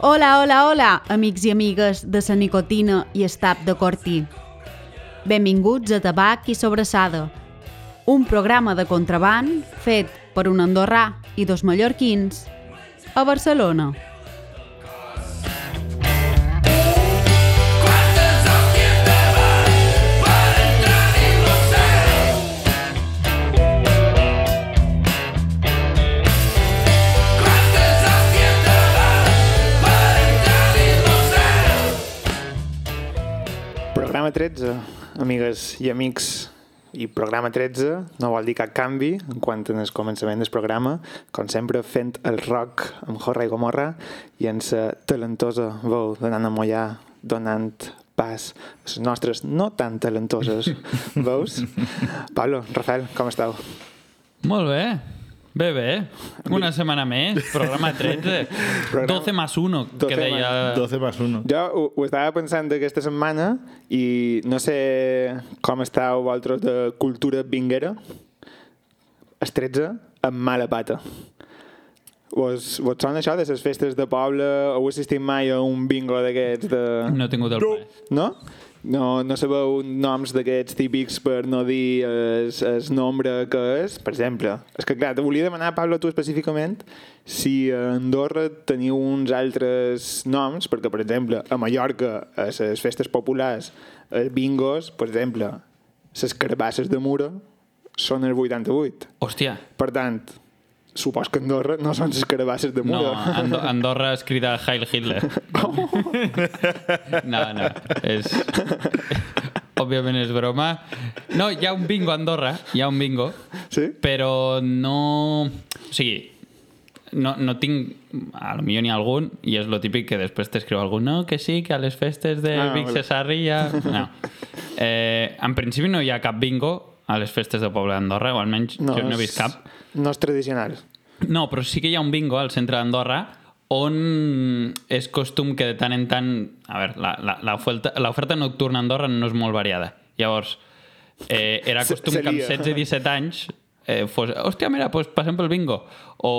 Hola, hola, hola, amics i amigues de la nicotina i el tap de cortí. Benvinguts a Tabac i Sobrassada, un programa de contraband fet per un andorrà i dos mallorquins a Barcelona. Programa 13, amigues i amics. I programa 13 no vol dir cap canvi en quant al començament del programa, com sempre fent el rock amb Jorra i Gomorra i en sa talentosa veu de Nana Mollà donant pas a les nostres no tan talentoses veus. Pablo, Rafael, com esteu? Molt bé. Bé, bé. Una setmana més, programa 13. Programa- 12 más 1, 12 que deia... 12 más 1. Jo ho, ho estava pensant aquesta setmana i no sé com esteu vosaltres de cultura vinguera. Els 13 amb mala pata. Vos, vos sona això de les festes de poble? Heu assistit mai a un bingo d'aquests de... No he tingut el plaer. No? No, no sabeu noms d'aquests típics per no dir el nombre que és? Per exemple, és que clar, te volia demanar, Pablo, tu específicament, si a Andorra teniu uns altres noms, perquè, per exemple, a Mallorca, a les festes populars, els bingos, per exemple, les carbasses de Mura són el 88. Hòstia. Per tant, supos que a Andorra no són les carbasses de No, Mura. Ando Andorra es crida Heil Hitler. No, no. És... Òbviament és broma. No, hi ha un bingo a Andorra. Hi ha un bingo. Sí? Però no... O sigui, no, no tinc... A lo millor n'hi ha algun, i és lo típic que després t'escriu algú no, que sí, que a les festes de Ah, ah, Vic vale. Cesarri ja... No. Eh, en principi no hi ha cap bingo a les festes del poble d'Andorra, o almenys no, jo no he vist és- cap. No és tradicional. No, però sí que hi ha un bingo al centre d'Andorra on és costum que de tant en tant... A veure, la- la- l'oferta l'oferta nocturna a Andorra no és molt variada. Llavors, eh, era Se- costum se que amb lia. 16 i 17 anys eh, fos... Hòstia, mira, doncs passem pel bingo. O...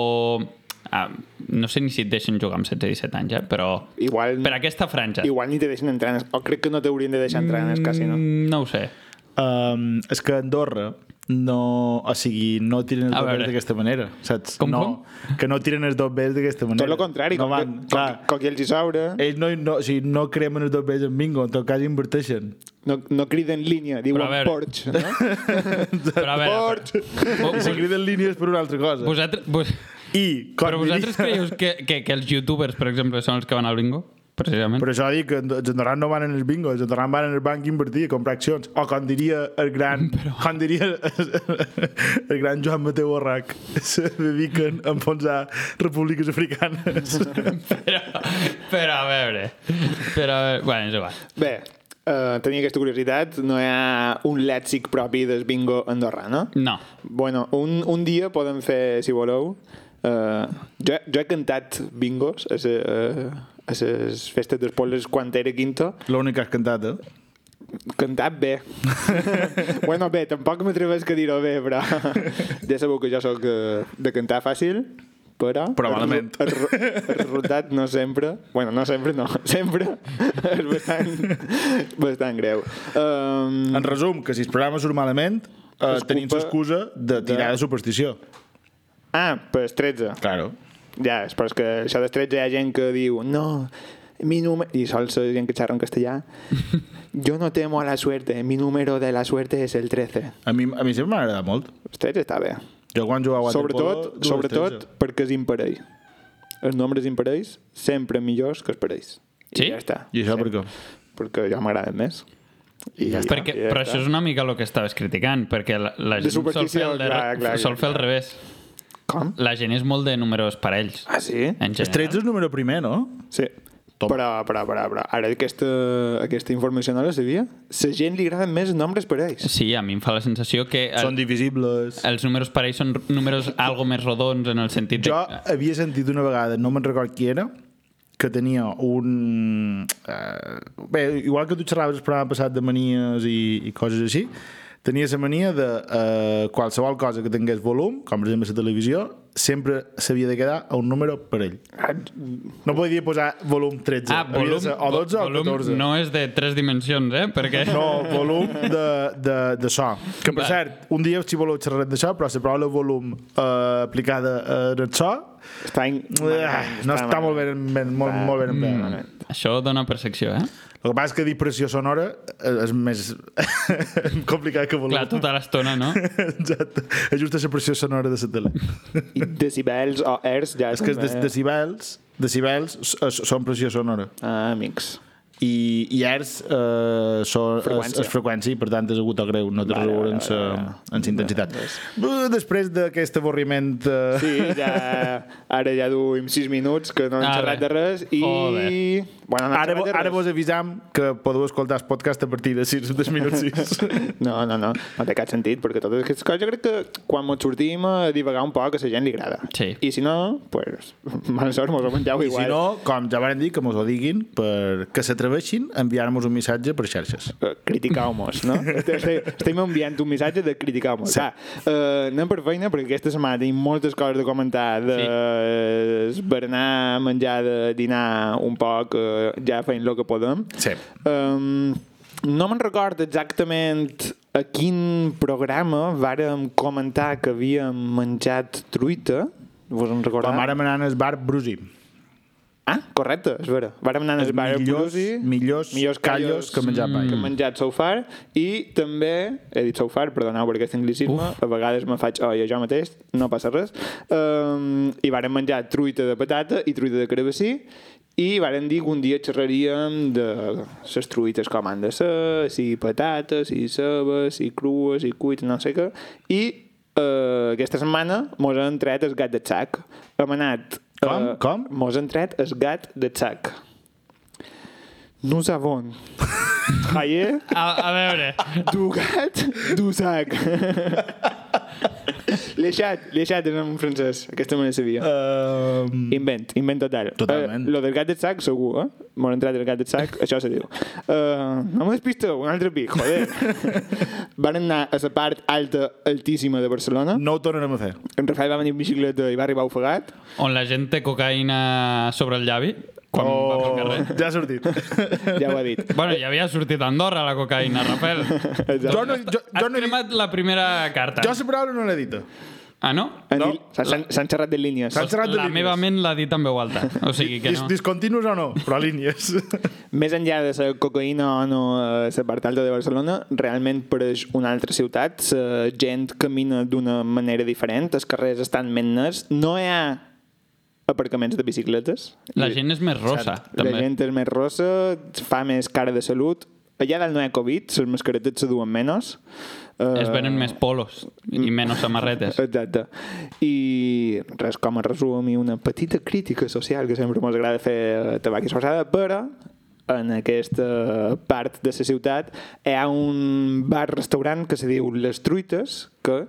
Ah, no sé ni si et deixen jugar amb 16 i 17 anys, eh? però... Igual... Per aquesta franja. Igual ni te deixen entrar en el... O crec que no t'haurien de deixar entrar en el casino. Mm, No ho sé. Um, és que a Andorra no, o sigui, no tiren els A veure. dobbers d'aquesta manera, saps? Com, no, com? Que no tiren els dobbers d'aquesta manera. Tot el contrari, no com, van, que, clar. Eh. com, com que ells hi sobre, Ells no, no, o sigui, no cremen els dobbers en bingo, en tot cas inverteixen. no, no criden línia, diuen Però a veure. porch, no? Però a veure... Però... Vos, Se criden línies per una altra cosa. vosaltres, vos... I, com Però vosaltres creieu que, que, que els youtubers, per exemple, són els que van al bingo? Precisament. Per això dic que els andorrans no van en el bingo, els andorrans van en el banc a invertir, a comprar accions. O com diria el gran... Però... Com diria el, el gran Joan Mateu Borrac, se dediquen a enfonsar repúbliques africanes. Però, però a veure... Però, a veure... Bueno, és igual. Bé, eh, tenia aquesta curiositat, no hi ha un lèxic propi del bingo andorrà, no? No. Bueno, un, un dia podem fer, si voleu... Uh, jo, jo he cantat bingos a les festes dels pobles quan era quinto L'únic que has cantat, eh? cantat bé. bueno, bé, tampoc m'atreveix que dir-ho bé, però ja sabeu que jo sóc eh, de cantar fàcil, però... Però malament. El, ru- el, ru- el resultat no sempre... Bueno, no sempre, no. Sempre és bastant, bastant greu. Um, Mm. En resum, que si el programa surt malament, eh, És tenim culpa l'excusa de tirar de superstició. ah, pues 13. Claro. Ja, és, però és que això dels 13 hi ha gent que diu no, mi número... I sol ser gent que xerra en castellà. Yo no temo a la suerte, mi número de la suerte és el 13. A mi, a mi sempre m'ha agradat molt. Els 13 està bé. Jo quan jugava a waterpolo... Sobretot, dues sobretot tretze. perquè és imparell. Els nombres imparells sempre millors que els parells. I Sí? ja està. I això per què? Perquè jo m'agrada més. I ja Perquè, i ja però això és una mica el que estaves criticant, perquè la, la De gent sol fer, superstició, el de, clar, clar, sol fer al revés. Com? La gent és molt de números parells. Ah, sí? En El general. 13 és número primer, no? Sí. Però, però, però, però, ara aquesta, aquesta informació no la sabia. La gent li agraden més nombres parells. Sí, a mi em fa la sensació que Eh. el, Són divisibles. els números parells són números algo més rodons en el sentit Jo de... havia sentit una vegada, no me'n record qui era, que tenia un... Eh, bé, igual que tu xerraves el programa passat de manies i, i coses així, tenia la mania de eh, qualsevol cosa que tingués volum, com per exemple la televisió, sempre s'havia de quedar a un número per ell. Ah, No podia posar volum 13. Ah, Havia de volum, ser o 12 o volum 14. no és de tres dimensions, eh? Perquè... No, volum de, de, de so. Que, per Va. cert, un dia, si voleu, xerrarem d'això, però la paraula volum eh, aplicada eh, en el so Està in... eh, no està molt ben, ben, molt, molt ben empleada. malament. Això dona percepció, eh? El que passa és que dir pressió sonora eh, és més complicat que volum. Clar, tota l'estona, no? Exacte. Ajusta la pressió sonora de la tele. I decibels o hertz ja és que els de- decibels, decibels s- s- són pressió sonora. Ah, amics. I, i hertz eh, són, Freqüència. freqüència. És, és freqüència i per tant és agut o greu, no té Vale, res a veure vale, en sa- vale, vale. en sa intensitat. Buh, Després d'aquest avorriment... Eh, Sí, ja, ara ja duim 6 minuts que no hem Ara. xerrat de res i... Joder. Bueno, no hem Ara, xerrat de ara res. vos avisam que podeu escoltar el podcast a partir de 6 de minuts 6. No, no, no, no té cap sentit, perquè totes aquestes coses jo crec que quan ens sortim a divagar un poc a la gent li agrada. Sí. I si no, pues, mala sort, mos ho mengeu I si igual. no, com ja vàrem dir, que mos ho diguin perquè s'atreveixin a enviar-nos un missatge per xarxes. Eh, criticau-mos, no? Este- este- Estem enviant un missatge de criticau-mos. Sí. Va, eh, anem per feina perquè aquesta setmana tenim moltes coses de comentar de sí. berenar, menjar, de dinar un poc, eh, ja fent el que podem. Sí. Um, no me'n record exactament a quin programa vàrem comentar que havíem menjat truita. Vos en recordeu? Quan vàrem anar al bar Brusi. Ah, correcte, és vera. Vàrem anar a bar millors- Brusi, millors callos que menjar mai. que hem menjat so far, i també, he dit so far, perdoneu per aquest anglicisme, a vegades me faig oi a jo mateix, no passa res, um, i vàrem menjar truita de patata i truita de carabassí, i varen dir que un dia xerraríem de les truites com han de ser, si patates, si cebes, si crues, si cuites, no sé què, i uh, aquesta setmana mos han tret el gat de sac. Hem anat... Com? eh, Com? Mos han tret el gat de sac. Nous avons Hayé, A, a veure... Dugat, Dusac. Leixat, Leixat és en francès, aquesta me la sabia. Um, Invent, invent total. Totalment. Eh, lo del gat de sac, segur, eh? M'ho han entrat el gat de sac, això se diu. Uh, no me despisteu, un altre pic, joder. Van anar a la part alta, altíssima de Barcelona. no ho tornarem a fer. En Rafael va venir amb bicicleta i va arribar ofegat. On la gent té cocaïna sobre el llavi quan oh. va pel carrer. ja ha sortit. Ja ho ha dit. Bueno, ja havia sortit a Andorra la cocaïna, Rafael. Exacte. jo no, jo, Has jo no, he dit- cremat la primera carta. jo la paraula no l'he dita. Ah, no? Han No. dit- S'han s'han- s'han xerrat de línies. S'han xerrat de La línies. meva ment l'ha dit en veu alta. O sigui que Dis, no. Discontinus o no, però línies. Més enllà de la cocaïna o no a la part alta de Barcelona, realment pareix una altra ciutat. La gent camina d'una manera diferent, els carrers estan més nets, no hi ha aparcaments de bicicletes. La gent és més rosa, La també. gent és més rossa, fa més cara de salut. Allà dalt no hi ha Covid, les mascaretes se duen menys. Eh, Es venen més polos i menys samarretes. Eh, Exacte. I res, com a resum i una petita crítica social que sempre ens agrada fer a tabac i sobrada, però en aquesta part de la ciutat hi ha un bar-restaurant que se diu Les Truites, que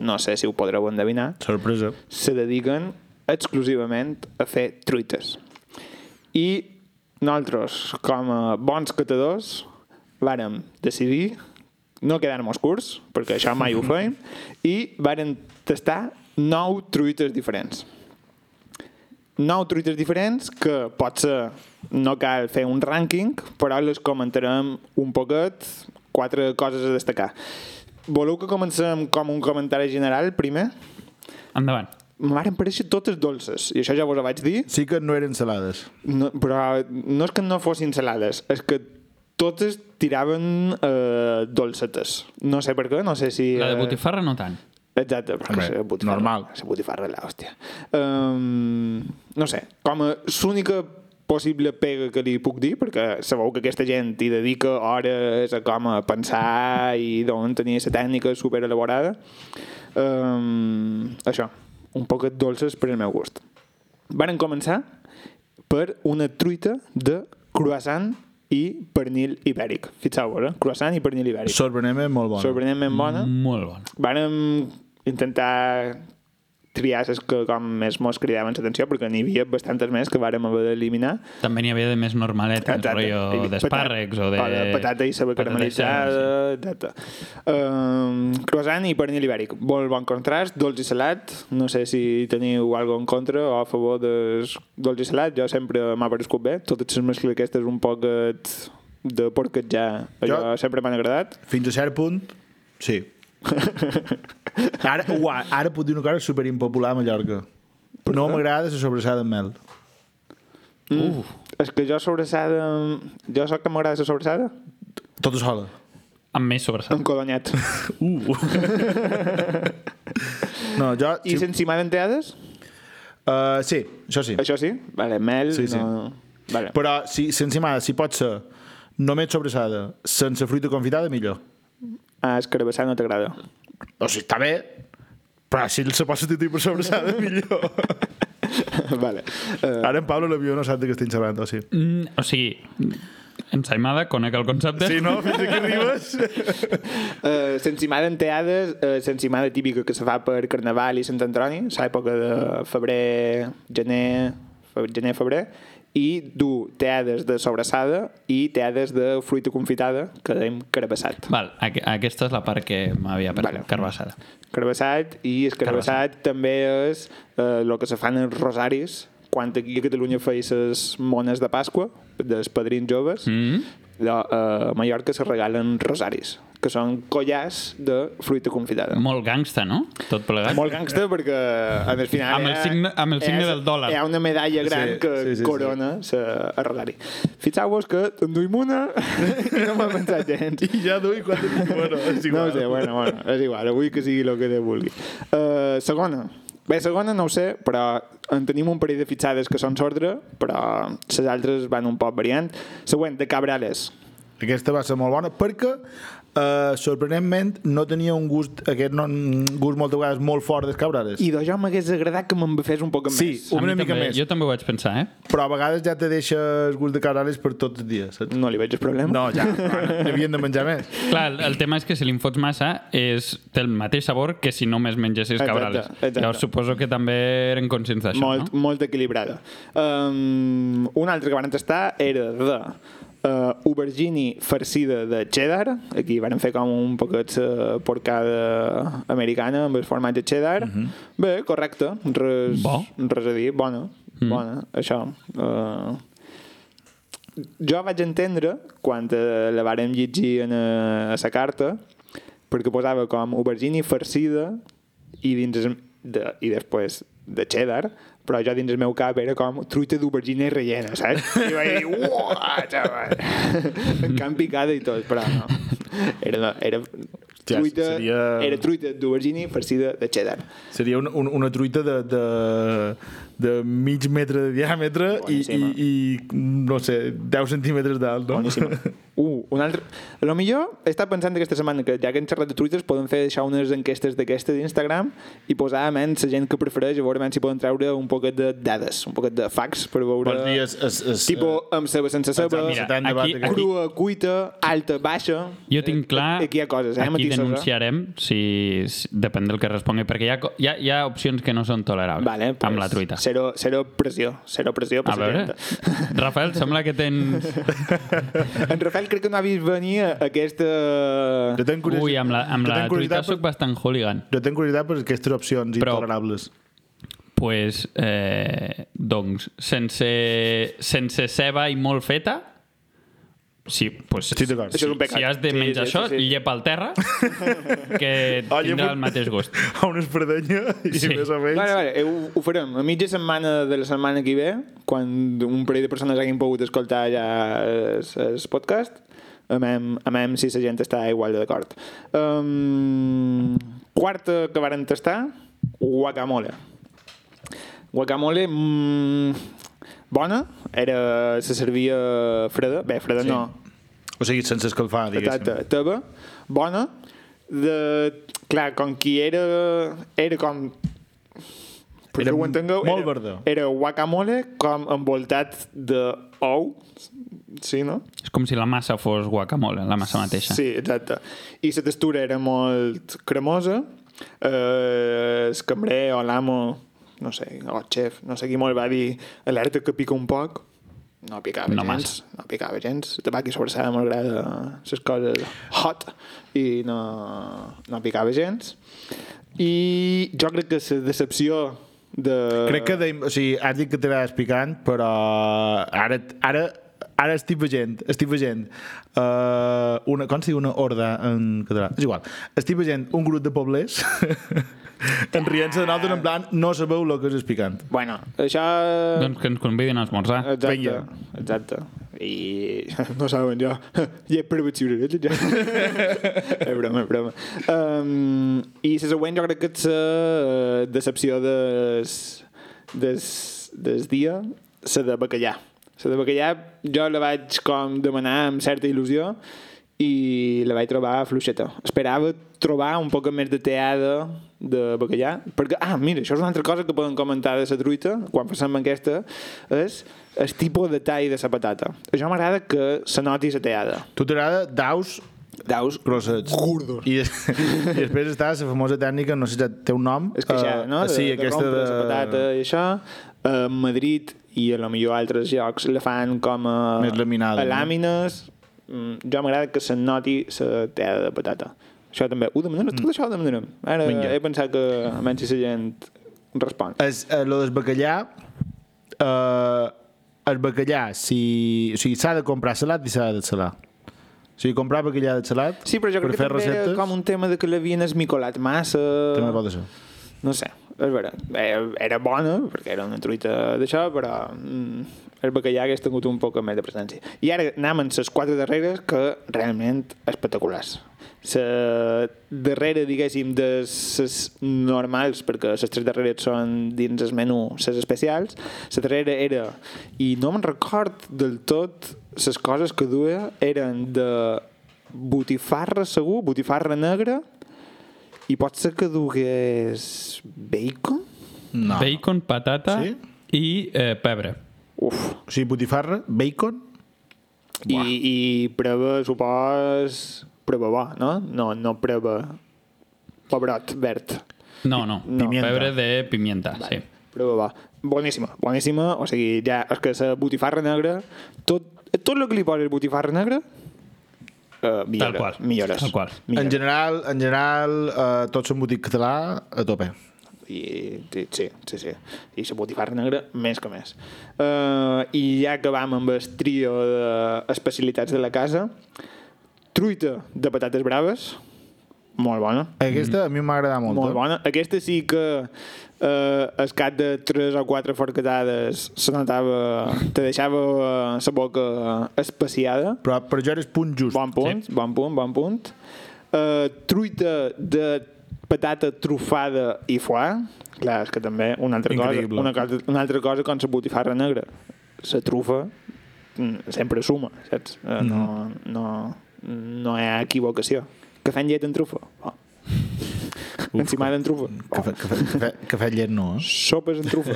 no sé si ho podreu endevinar, Sorpresa. se dediquen exclusivament a fer truites. I nosaltres, com a bons catadors, vàrem decidir no quedar-nos curts, perquè això mai ho feim, i vàrem tastar nou truites diferents. Nou truites diferents que potser no cal fer un rànquing, però les comentarem un poquet, quatre coses a destacar. Voleu que comencem com un comentari general, primer? Endavant. me varen parèixer totes dolces, i això ja vos ho vaig dir, Sí que no eren salades. no, però no és que no fossin salades, és que totes tiraven eh, dolcetes. No sé per què, no sé si... La de eh, botifarra no tant. Exacte, perquè Hombre, la botifarra, normal. La botifarra és l'hòstia. Um, no sé, com a l'única possible pega que li puc dir, perquè sabeu que aquesta gent hi dedica hores a com a pensar i d'on tenir la tècnica super elaborada. Um, això, un poc dolces per al meu gust. Varen començar per una truita de croissant i pernil ibèric. Fixeu-vos, eh? Croissant i pernil ibèric. Sorprenentment molt bona. Sorprenentment bona Molt bona. vàrem intentar triar les que com més mos cridaven l'atenció, perquè n'hi havia bastantes més que vàrem haver d'eliminar. També n'hi havia de més normaleta, Exacte. rotllo Pata- d'espàrrecs o de... patata i ceba patata i ceba, caramelitzada, etc. Um, croissant i pernil ibèric. Molt bon contrast, dolç i salat. No sé si teniu algo en contra o a favor de dolç i salat. Jo sempre m'ha parescut bé. Totes les mescles aquestes un poc de porquetjar. Allò Jo- sempre m'han agradat. Fins a cert punt, sí. ara, ua, ara puc dir una cosa superimpopular a Mallorca. No m'agrada la sobrassada amb mel. Mm. És que jo sobrassada... Jo sóc que m'agrada la sobrassada? Tota sola. sí. Amb més Ah. sobresalt. Amb codonyat. Uh. no, jo... I Sí, sense mà d'enteades? uh, sí, això sí. Això sí? Vale, mel... Sí, sí. No... Vale. Però si, sense mà, si pot ser només sobrassada, sense fruita confitada, millor. Ah, escarabassar no t'agrada. O sigui, està bé, però si se pot substituir per sobrassada, millor. vale. Eh, Ara en Pablo l'avió no sap de què estic xerrant, o sí. Mm, o sigui, ensaïmada, conec el concepte. Sí, no? Fins aquí arribes. eh, l'encimada enteades, eh, l'encimada típica que se fa per Carnaval i Sant Antoni, l'època de febrer, gener, fe- gener, febrer, i du teades de sobrassada i teades de fruita confitada, que dèiem carabassat. Val, aqu aquesta és la part que m'havia perdut, Vale. vale. carbassada. Carabassat i el carabassat també és eh, el que se fan els rosaris, quan aquí a Catalunya feis les mones de Pasqua, dels padrins joves, Mm? allò, eh, a Mallorca se regalen rosaris, que són collars de fruita confitada. Molt gangsta, no? Tot plegat. Molt gangsta perquè en el final... Amb el hi ha- signe- amb el signe hi ha- del dòlar. Hi ha una medalla gran Sí, que sí, sí, sí. corona sí. el rodari. Fixeu-vos que enduim una i no m'ha pensat gens. I ja duc quan Bueno, és No igual. ho sé, bueno, bueno, és igual, avui que sigui el que Déu vulgui. Uh, segona. Bé, segona no ho sé, però en tenim un parell de fitxades que són sordre, però les altres van un poc variant. Següent, de Cabrales. Aquesta va ser molt bona perquè eh, sorprenentment no tenia un gust aquest no, un gust moltes vegades molt fort dels cabrales I de jo m'hagués agradat que me'n fes un poc Sí, més. A mi una mica també, més. Jo també ho vaig pensar, eh? però a vegades ja te deixes gust de cabrales per tots els dies saps? No li veig el problema. no, ja, bueno, havien de menjar més Clar, el, el tema és que si li en fots massa és, té el mateix sabor que si només mengessis Exacte, cabrales. exacte. Llavors suposo que també eren conscients d'això, molt, no? molt equilibrada. Um, una altra que van tastar era de uh, aubergini farcida de cheddar. Aquí van fer com un poquet de porcada americana amb el formatge cheddar. Bé, correcte. Res, Bo. res a dir. Bona. Bona, això. Uh, jo vaig entendre quan eh, la vàrem llegir en, eh, a la carta perquè posava com aubergini farcida i dins es- de, i després de cheddar però jo dins el meu cap era com truita d'aubergina i rellena, saps? I vaig dir, uah, xaval! en camp picada i tot, però no. Era, era, Ja, truita, seria- era truita d'aubergini farcida de cheddar. seria una, una, una truita de, de, de mig metre de diàmetre i, i, Boníssima. i, no sé 10 centímetres d'alt no? Boníssima. Uh, un altre... Lo millor, he estat pensant aquesta setmana que ja que hem xerrat de truites podem fer això unes enquestes d'aquestes d'Instagram i posar a mens la gent que prefereix a veure mens si poden treure un poquet de dades, un poquet de facts per veure... Vols dir, és- és- és- eh, tipo, amb ceba, sense ceba, Exacte, Mira, tant debat aquí, aquest. aquí, crua, cuita, alta, baixa... Jo tinc clar... Aquí hi ha coses, eh? Aquí matisos, eh? denunciarem, si, si, depèn del que respongui, perquè hi ha, co- hi ha, hi ha opcions que no són tolerables Vale, pues, amb la truita. Cero, cero pressió, cero pressió. per A la veure, gent. Rafael, sembla que tens... En Rafael crec que no ha vist venir aquesta... jo tenc curiositat, Ui, amb la, amb jo la tenc truita curiositat sóc per, bastant hooligan. jo tenc curiositat per aquestes opcions Però- intolerables pues, eh, doncs, sense, sense ceba i molt feta, sí, pues, Estic d'acord. Això és un pecat. si has de Sí, menjar sí, això, sí, sí. llepa al terra, que Ah, tindrà llepa- el mateix gust. a una espardenya i Sí. més o menys Vale, vale, eh, ho, ho farem. A mitja setmana de la setmana que ve, quan un parell de persones hagin pogut escoltar ja el podcast, amem, amem si la gent està igual de d'acord. Um, quarta que varen tastar, guacamole. Guacamole... Mm, bona, era, se servia freda, bé, freda sí. no, o sigui, sense escalfar diguéssim patata teva, bona, de... Clar, com qui era... Era com... Perquè Era ho entengueu, molt era, verda. Era guacamole com envoltat d'ou, sí, no? És com si la massa fos guacamole, la massa mateixa. Sí, exacte. I la textura era molt cremosa eh, el cambrer o l'amo, no sé, o el xef, no sé qui molt va dir alerta que pica un poc, no picava No no gens, no picava gens. El tabac i sobrassada m'agrada les coses hot i no, no picava gens. I jo crec que la decepció de... Crec que de, o sigui, has dit que t'agrades picant, però eh, ara, ara, ara estic veient, estic veient uh, una, com es diu una horda en català? És igual. Estic veient un grup de poblers en rient-se de nosaltres en plan no sabeu el que és picant. Bueno, això... Doncs que ens convidin a esmorzar. Eh, Exacte, vinga. exacte. I no saben jo. I he perdut ciurelet, ja. és Eh, broma, és broma. Um, I la següent jo crec que és la decepció des, des, des dia, la de bacallà. La de bacallà jo la vaig com demanar amb certa il·lusió i la vaig trobar fluixeta. Esperava trobar un poc més de teada de bacallà, perquè, ah, mira, això és una altra cosa que poden comentar de la truita, quan passem aquesta, és el tipus de tall de la patata. Això m'agrada que se noti la teada. Tu t'agrada daus Daus, grossets. Gordos. I, des, I després està la famosa tècnica, no sé si té un nom. és que ja, eh, no? De, sí, de aquesta rompre de... la patata i això. A Madrid i a lo millor a altres llocs la fan com a... Més laminada, A no? làmines. Mm, jo m'agrada que se noti la teada de patata. Això també. Ho demanem, tot això ho demanem. Ara Mm. Vinga. he pensat que almenys si la gent respon. Es, eh, lo del bacallà... Eh, el bacallà, si, o sigui, s'ha de comprar salat i s'ha de salar. O sigui, comprar bacallà de salat Sí, però jo crec per que fer també receptes... era com un tema de que l'havien esmicolat massa. També pot ser. No sé, és vera. Eh, Era bona, perquè era una truita d'això, però mm, el bacallà hagués tingut un poc més de presència. I ara anem amb les quatre darreres, que realment espectaculars. La darrera, diguéssim, de les normals, perquè les tres darreres són dins el menú les especials, la darrera era, i no me'n record del tot, les coses que duia eren de botifarra segur, botifarra negra, i pot ser que dugués bacon? No. Bacon, patata ah. Sí? i eh, pebre. Uf. O sigui, botifarra, bacon... I, i preva, supos, preva bo, no? No, no preva pebrot verd. No, no, Pimienta. pebre de pimienta, sí. Preva bo. Boníssima, boníssima. O sigui, ja, és que la botifarra negra, tot, tot el que li posa el botifarra negra, eh, millora, Tal qual. millores. Tal qual. En Millores. general, en general eh, tots són botic català a tope. I, sí, sí, sí, sí. I la botifarra negra, més que més. Uh, I ja que vam amb el trio d'especialitats de la casa, truita de patates braves, molt bona, Aquesta a mi m'agrada molt. molt eh? bona. Aquesta sí que eh, el cap de 3 o 4 forcatades se notava, te deixava eh, la boca espaciada. Però, però jo eres punt just. Bon punt, sí. bon punt, bon punt. Uh, truita de patata trufada i foie. Clar, és que també una altra Increïble. cosa, una, cosa, una altra cosa com la botifarra negra. La trufa mm, sempre suma, saps? Uh, no, no, no hi ha equivocació. Que fan llet en trufa? Oh. Encimada en trufa? Cafè, Oh. cafè, cafè, cafè llet no, eh? Sopes en trufa?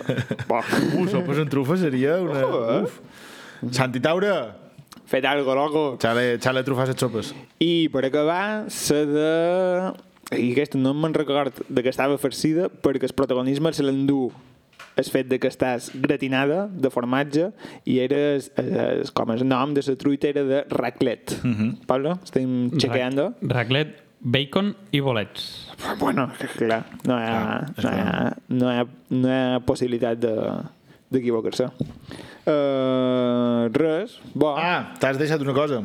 Oh. Uh, sopes en trufa seria una... Oh, eh? Uf. Santi Taura, Fet algo, loco. xale, xale trufar les sopes. I per acabar, la de... I aquesta no me'n record de que estava farcida perquè el protagonisme se l'endú el fet de que estàs gratinada de formatge i eres, eh, com el nom de la truita era de raclet. Uh -huh. Pablo, estem chequeando? Rac- Raclet, bacon i bolets. Bueno, que clar, no hi ha, no hi ha, no hi ha, no hi ha possibilitat de- d'equivocar-se. De, uh, res, bo. Ah. Ah, t'has deixat una cosa.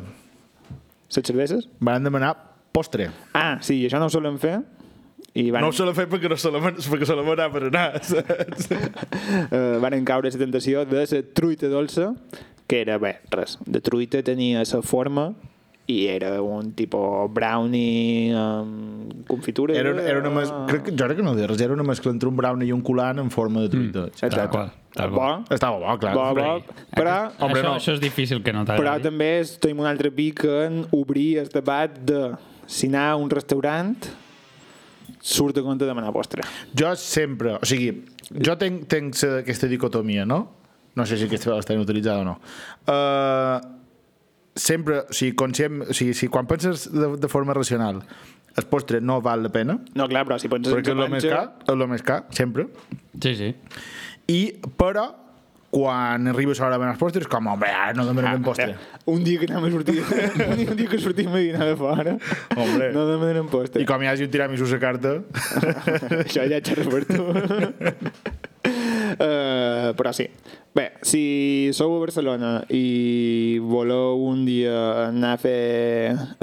Les cerveses? Van demanar postre. Ah, sí, això no ho solen fer. I van No ho solen fer perquè, no solen, perquè solen anar per anar. saps? eh, varen caure a la tentació de la truita dolça, que era, bé, res, de truita tenia la forma i era un tipus brownie amb confitura. Era, era una mes... crec, que- jo crec que no ho diràs, era una mescla entre un brownie i un coulant en forma de truita. Mm. Ah, Exacte. Tal qual, tal qual. Bo, Estava bo, clar. bo, bo. Però, Hombre, això, no. això és difícil que no però t'agradi. també estem en un altre pic en obrir el debat de si anar a un restaurant surt a compte de demanar postre. Jo sempre, o sigui, jo tenc, tenc se- aquesta dicotomia, no? No sé si aquesta vegada està inutilitzada o no. Eh, Uh, sempre, o sigui, conscient, o sigui, si quan penses de, de forma racional el postre no val la pena, No, clar, però si penses perquè és en el més xapanxa- car, és el més car, sempre. Sí, sí. I, però, quan arribes a l'hora de benar els postres, com, home, ara no demanarem postre. Ah, eh, Un dia que anem a sortir, un dia que sortim a dinar de fora, Hombre. no demanem postre. I com hi hagi un tiramisú a carta... Això ja xerro per tu. Uh, però sí bé, si sou a Barcelona i voleu un dia anar a fer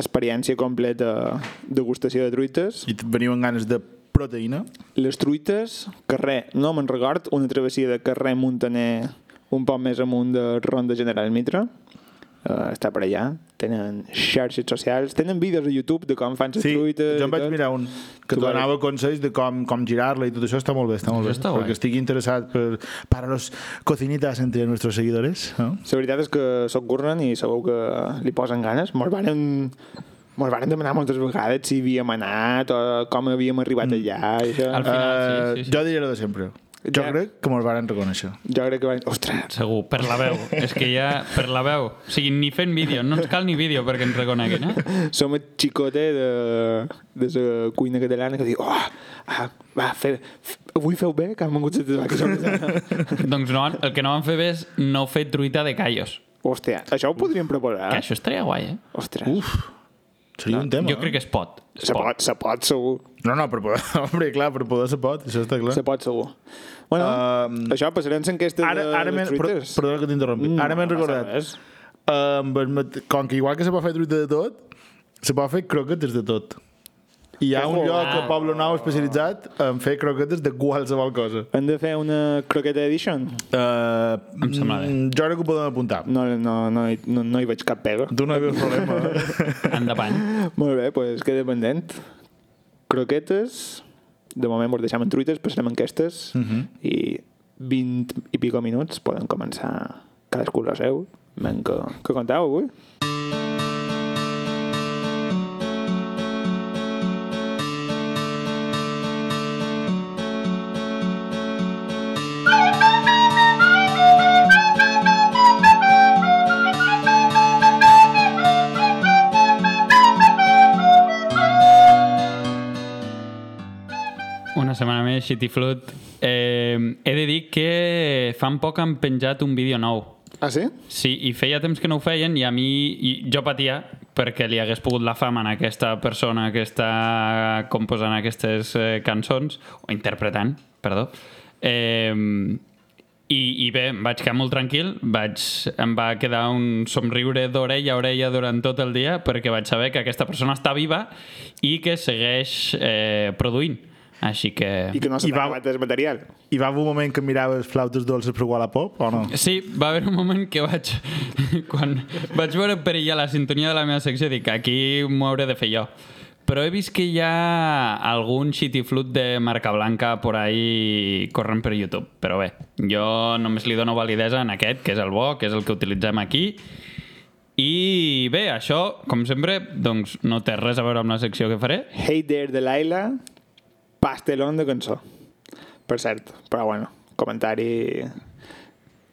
experiència completa degustació de truites I veniu amb ganes de proteïna. les truites, carrer no me'n record, una travessia de carrer Montaner un poc més amunt de Ronda General Mitra uh, està per allà, tenen xarxes socials tenen vídeos a YouTube de com fan les Sí, truites i jo em vaig tot. mirar un que Tu vas- donava consells de com, com girar-la i tot això està molt bé, està molt Això bé. està guai. perquè estic interessat per, para los cocinitas entre nuestros seguidores. No? La veritat és que soc gurnen i sabeu que li posen ganes. Mos varen, mos varen demanar moltes vegades si havíem anat o com havíem arribat Mm. allà. I això. Al final, Eh, sí, sí, sí. Jo diré lo de sempre. Jo Ja. crec que me'ls varen reconèixer. Jo crec que vaig... Ostres! Segur, per la veu. És que ja, per la veu. O sigui, ni fent vídeo, no ens cal ni vídeo perquè ens reconeguin, eh? Som el xicote de, de la cuina catalana que diu oh, ah, va, fe, f- avui feu bé que han vengut a que som catalans." doncs no, el que no van fer bé és no fer truita de callos. Hòstia, això ho podríem proposar? Que això estaria guai, eh? Ostres, Uf, Seria un tema. eh? Jo crec que es pot. Es se pot, se pot segur. No, no, per poder, hombre, clar, per poder se pot, això està clar. Se pot segur. Bueno, Eh? Um, això, passarem l'enquesta de, Ara, ara de m'he- per, truites. perdona que t'interrompi. No, ara m'he no passa recordat. res. Um, com que igual que se pot fer truita de tot, se pot fer croquetes de tot. I hi ha un Ojo. lloc a Poble Nou especialitzat en e fer croquetes de qualsevol cosa. Hem de fer una croqueta edition? Uh, Em sembla bé. Jo crec que ho podem apuntar. No, no, no, hi- no, no hi veig cap pega. Tu no hi veus problema. eh? Endavant. Molt bé, doncs pues queda pendent. Croquetes, de moment vos deixem en truites, passarem enquestes i 20 i pico minuts poden començar cadascú la seu. Men, que, que contau avui? Una setmana més, Xitiflut. Eh, he de dir que fa poc han penjat un vídeo nou. Ah, sí? Sí, i feia temps que no ho feien i a mi i jo patia perquè li hagués pogut la fama a aquesta persona que està composant aquestes eh, cançons, o interpretant, perdó. Eh, i, I bé, em vaig quedar molt tranquil, vaig, em va quedar un somriure d'orella a orella durant tot el dia perquè vaig saber que aquesta persona està viva i que segueix eh, produint. Així que... I que no s'ha I va- acabat el material. Hi va haver un moment que miraves flautes dolces per Wallapop, o no? Sí, va haver un moment que vaig... quan vaig veure perillar la sintonia de la meva secció, dic, aquí m'ho hauré de fer jo. Però he vist que hi ha algun xitiflut de marca blanca por ahí corrent per YouTube. Però bé, jo només li dono validesa en aquest, que és el bo, que és el que utilitzem aquí. I bé, això, com sempre, doncs no té res a veure amb la secció que faré. Hey There, Delilah, pastelón de cançó. Per cert, però bueno, comentari eh,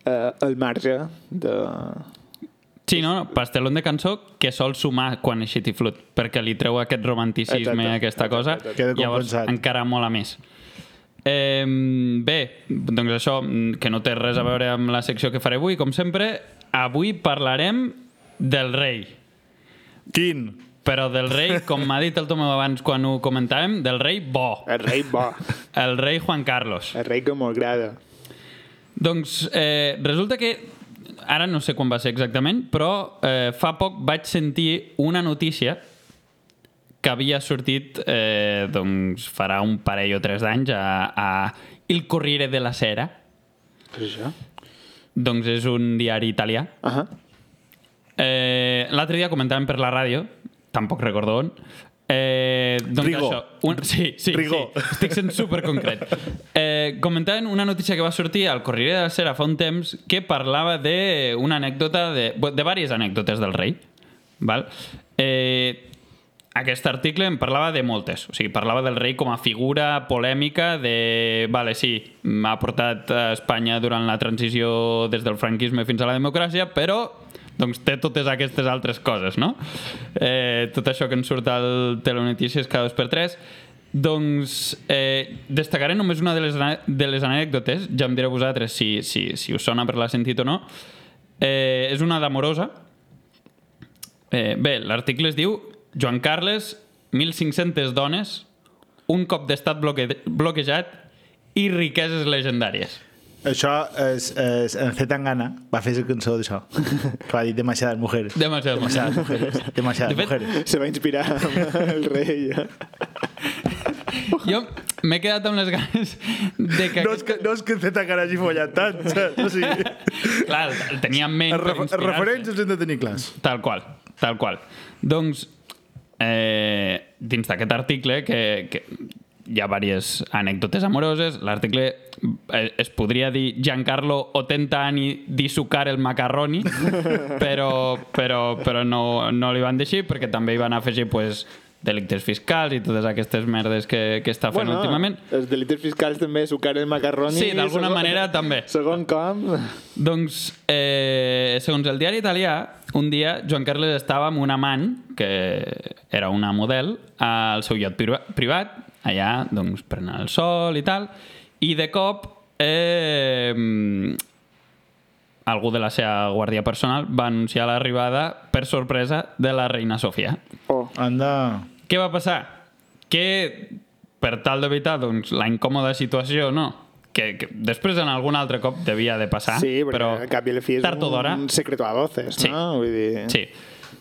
al marge de, Sí, no, no, pastelón de cançó que sol sumar quan és xitiflut, perquè li treu aquest romanticisme Exacte, i aquesta exacte, cosa, exacte. Queda llavors compensat. encara mola més. Eh, bé, doncs això, mm, que no té res a veure amb la secció que faré avui, com sempre, avui parlarem del rei. Quin? Però del rei, com m'ha dit el Tomeu abans quan ho comentàvem, del rei bo, El rei bo. el rei Juan Carlos. El rei que m'agrada. Doncs eh, resulta que ara no sé quan va ser exactament, però eh, fa poc vaig sentir una notícia que havia sortit eh, doncs farà un parell o tres d'anys a, a Il Corriere della Sera, Què és això? doncs és un diari italià. Ahà. Eh, L'altre dia comentàvem per la ràdio, tampoc recordo on, Eh, doncs Rigor. Això, un, sí, sí, Rigor. sí, estic sent superconcret. Eh, comentaven una notícia que va sortir al Corriere de la Sera fa un temps que parlava d'una anècdota, de, bé, de diverses anècdotes del rei. Val? Eh, aquest article en parlava de moltes. O sigui, parlava del rei com a figura polèmica de... Vale, sí, m'ha portat a Espanya durant la transició des del franquisme fins a la democràcia, però Doncs té totes aquestes altres coses, no? Eh, tot això que ens surt al Telenotícies cada dos per tres. Doncs eh, destacaré només una de les, ane- de les anècdotes, ja em direu vosaltres si, si, si us sona per l'ha sentit o no. Eh, és una d'amorosa, Eh, bé, l'article es diu Joan Carles, 1.500 dones, un cop d'estat bloque bloquejat i riqueses legendàries. Això és, és en C. Tangana va fer la cançó d'això que va dir demasiades mujeres Demasiades demasiades mujeres. mujeres, demasiades De fet- mujeres. Se va inspirar amb el rei. eh? Jo m'he quedat amb les ganes de que... No és que, no és que Z encara hagi follat tant, saps? O sigui, Clar, el tenia en ment els, per refer els inspirar-se. referents els hem de tenir clars. Tal qual, tal qual. Doncs, eh, dins d'aquest article, que, que hi ha diverses anècdotes amoroses, l'article eh, es podria dir Giancarlo 80 ani di sucar el macarroni, però, però, però no, no li van deixar perquè també hi van afegir pues, delictes fiscals i totes aquestes merdes que, que està fent bueno, últimament. els delites fiscals també, sucar el macarroni... Sí, d'alguna segon- manera també. Segon com... Doncs, eh, segons el diari italià, un dia Joan Carles estava amb un amant, que era una model, al seu lloc privat, allà doncs, prenent el sol i tal, i de cop eh, algú de la seva guàrdia personal va anunciar l'arribada, per sorpresa, de la reina Sofia. Oh. Anda... Què va passar? Que, per tal d'evitar doncs, la incòmoda situació, no? Que, que després en algun altre cop devia de passar, sí, perquè però al cap i a la fi és tard o d'hora... un eh? secreto a voces, Sí. no? Vull dir... Sí.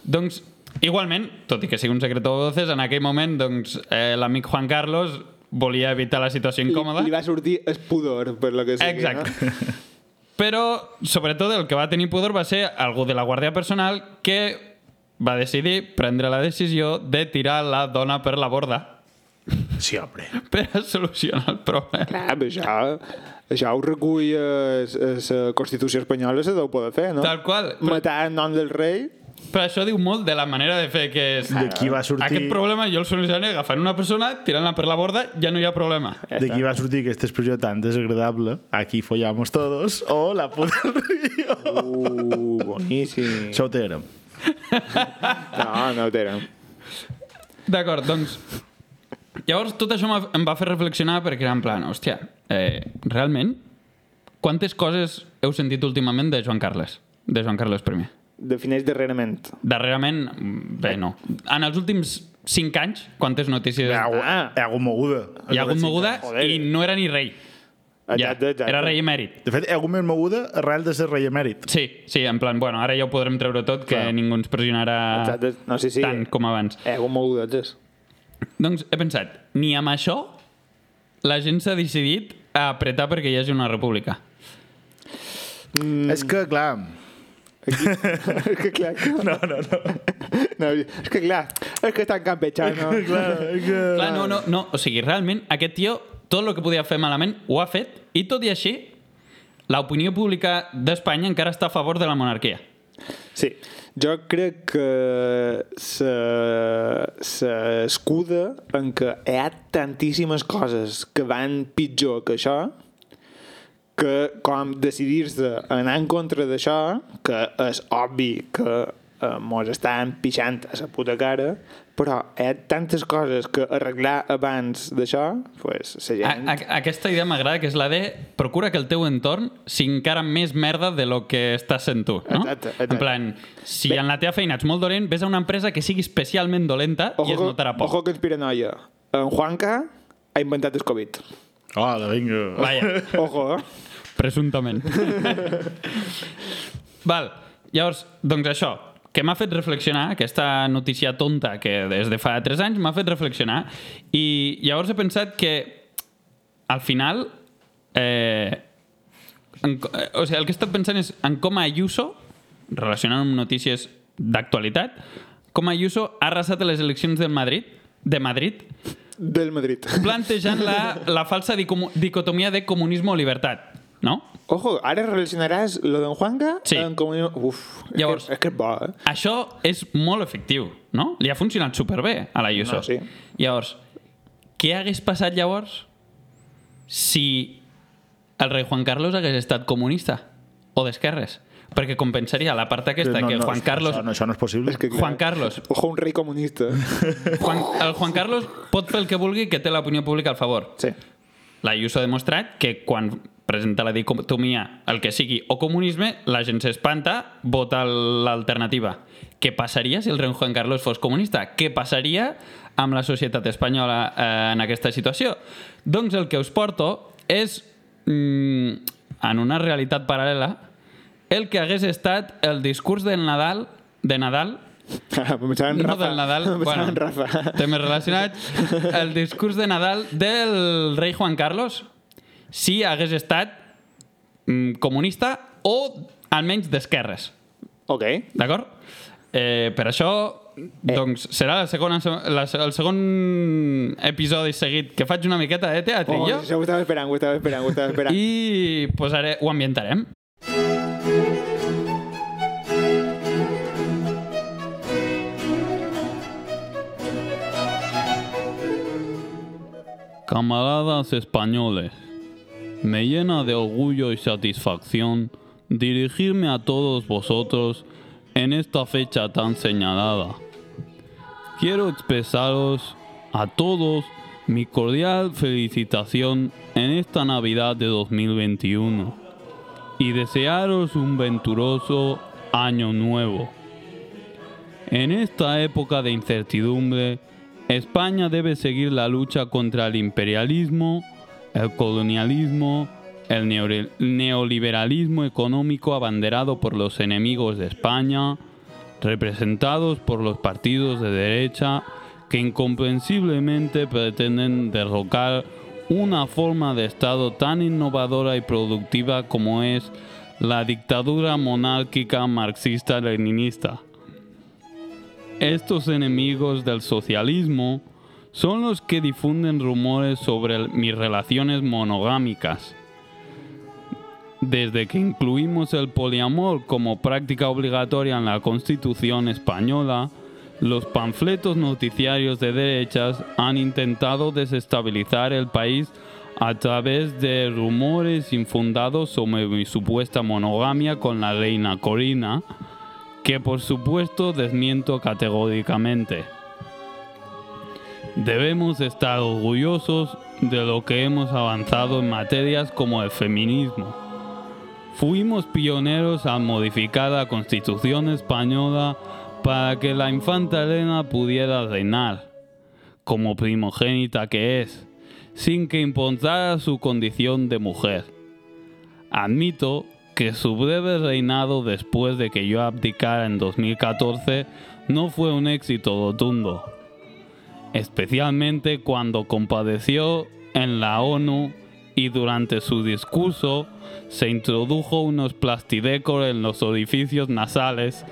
Doncs, igualment, tot i que sigui un secreto de voces, en aquell moment doncs, eh, l'amic Juan Carlos volia evitar la situació Li, incòmoda. li va sortir es pudor, per lo que sigui. Exacte. No? Però, sobretot, el que va tenir pudor va ser algú de la Guàrdia Personal que va decidir prendre la decisió de tirar la dona per la borda Sí, home. per a solucionar el problema. Clar, però això, això ho recull la Constitució espanyola, se deu poder fer, no? Tal qual. Matar en nom del rei... Però això diu molt de la manera de fer que és... De qui va sortir- Aquest problema jo el solucionaré agafant una persona, tirant-la per la borda, ja no hi ha problema. De qui va sortir aquesta expressió tan desagradable, aquí follamos todos, o la puta del río. Uh, boníssim. Això ho tèrem. No, no ho tenen. D'acord, doncs... Llavors, tot això m'ha- em va fer reflexionar perquè era en plan, hòstia, eh, realment, quantes coses heu sentit últimament de Joan Carles? De Joan Carles I. Defineix darrerament. Darrerament, mm, bé, no. En els últims 5 anys, quantes notícies... Hi ha, algú- Ah. hi ha hagut moguda. Hi ha hagut moguda Joder. i no era ni rei. Ja, Exacte, exacte. era rei emèrit. De fet, hi ha hagut més moguda arrel de ser rei emèrit. Sí, sí, en plan, bueno, ara ja ho podrem treure tot, que Clar. ningú ens pressionarà Exacte. No, sí, sí. Ah, tant com abans. Eh, un mogudatges. Doncs he pensat, ni amb això la gent s'ha decidit a apretar perquè hi hagi una república. Mm. És que, clar, és que clar... No, no, no. no. És que clar, és que estan campechano. clar, és que... Clar, no, no, no. O sigui, realment, aquest tio, tot el que podia fer malament, ho ha fet, i tot i així, l'opinió pública d'Espanya encara està a favor de la monarquia. Sí, jo crec que s'escuda en que hi ha tantíssimes coses que van pitjor que això que com decidir-se a anar en contra d'això, que és obvi que eh, mos estan pixant a la puta cara, però hi ha tantes coses que arreglar abans d'això, pues, la A, gent... a, aquesta idea m'agrada, que és la de procura que el teu entorn sigui encara més merda de lo que estàs sent tu, no? Exacte, exacte. En plan, si en la teva feina ets molt dolent, ves a una empresa que sigui especialment dolenta i es que- notarà poc. ojo que ens piranoia. En Juanca ha inventat el Covid. Hola, vinga. Vaja. Ojo, eh? Presumptament. Val, llavors, doncs això, que m'ha fet reflexionar, aquesta notícia tonta que des de fa 3 anys m'ha fet reflexionar, i llavors he pensat que al final eh, en, co- eh, o sigui, el que he estat pensant és en com Ayuso, relacionant amb notícies d'actualitat, com Ayuso ha arrasat a les eleccions del Madrid, de Madrid, del Madrid. plantejant la, la falsa dicomu- dicotomia de comunisme o libertat, no? Ojo, ara relacionaràs lo d'en Juanca Sí. amb comunió... Uf, Llavors- és, que, és que és bo, eh? Això és molt efectiu, no? Li ha funcionat superbé a la No, Yuso. Ah, sí. Llavors, què hagués passat llavors si el rei Juan Carlos hagués estat comunista o d'esquerres? perquè compensaria la part aquesta No, que no, Juan això- Carlos... Això, no, això no és possible. És que, clar, Juan Carlos, Ojo, un rei comunista. Juan, el Juan Carlos pot fer el que vulgui que té l'opinió pública al favor. Sí. L'Ayuso ha demostrat que quan presenta la dicotomia, el que sigui, o comunisme, la gent s'espanta, vota l'alternativa. Què passaria si el rei Juan Carlos fos comunista? Què passaria amb la societat espanyola eh, en aquesta situació? Doncs el que us porto és, mm, en una realitat paral·lela, el que hagués estat el discurs de Nadal de Nadal em Pensava en no Rafa. Em del Nadal, Pensava bueno, en Rafa. temes relacionats. El discurs de Nadal del rei Juan Carlos, si hagués estat mm, comunista o almenys d'esquerres, Ok. d'acord? Eh, per això, doncs, serà la segona, la, el segon episodi seguit que faig una miqueta de Oh, teatrillo això ho estava esperant, ho estava esperant, ho estava esperant. i posaré, ho ambientarem. Camaradas españoles, me llena de orgullo y satisfacción dirigirme a todos vosotros en esta fecha tan señalada. Quiero expresaros a todos mi cordial felicitación en esta Navidad de 2021 y desearos un venturoso año nuevo. En esta época de incertidumbre, España debe seguir la lucha contra el imperialismo, el colonialismo, el neore- neoliberalismo económico abanderado por los enemigos de España, representados por los partidos de derecha que incomprensiblemente pretenden derrocar una forma de Estado tan innovadora y productiva como es la dictadura monárquica marxista-leninista. Estos enemigos del socialismo son los que difunden rumores sobre el- mis relaciones monogámicas. Desde que incluimos el poliamor como práctica obligatoria en la Constitución española, los panfletos noticiarios de derechas han intentado desestabilizar el país a través de rumores infundados sobre mi supuesta monogamia con la reina Corina, que por supuesto desmiento categóricamente. Debemos estar orgullosos de lo que hemos avanzado en materias como el feminismo. Fuimos pioneros al modificar la constitución española para que la infanta Elena pudiera reinar, como primogénita que es, sin que importara su condición de mujer. Admito que su breve reinado después de que yo abdicara en 2014 no fue un éxito rotundo, especialmente cuando compadeció en la ONU y durante su discurso se introdujo unos plastidecos en los orificios nasales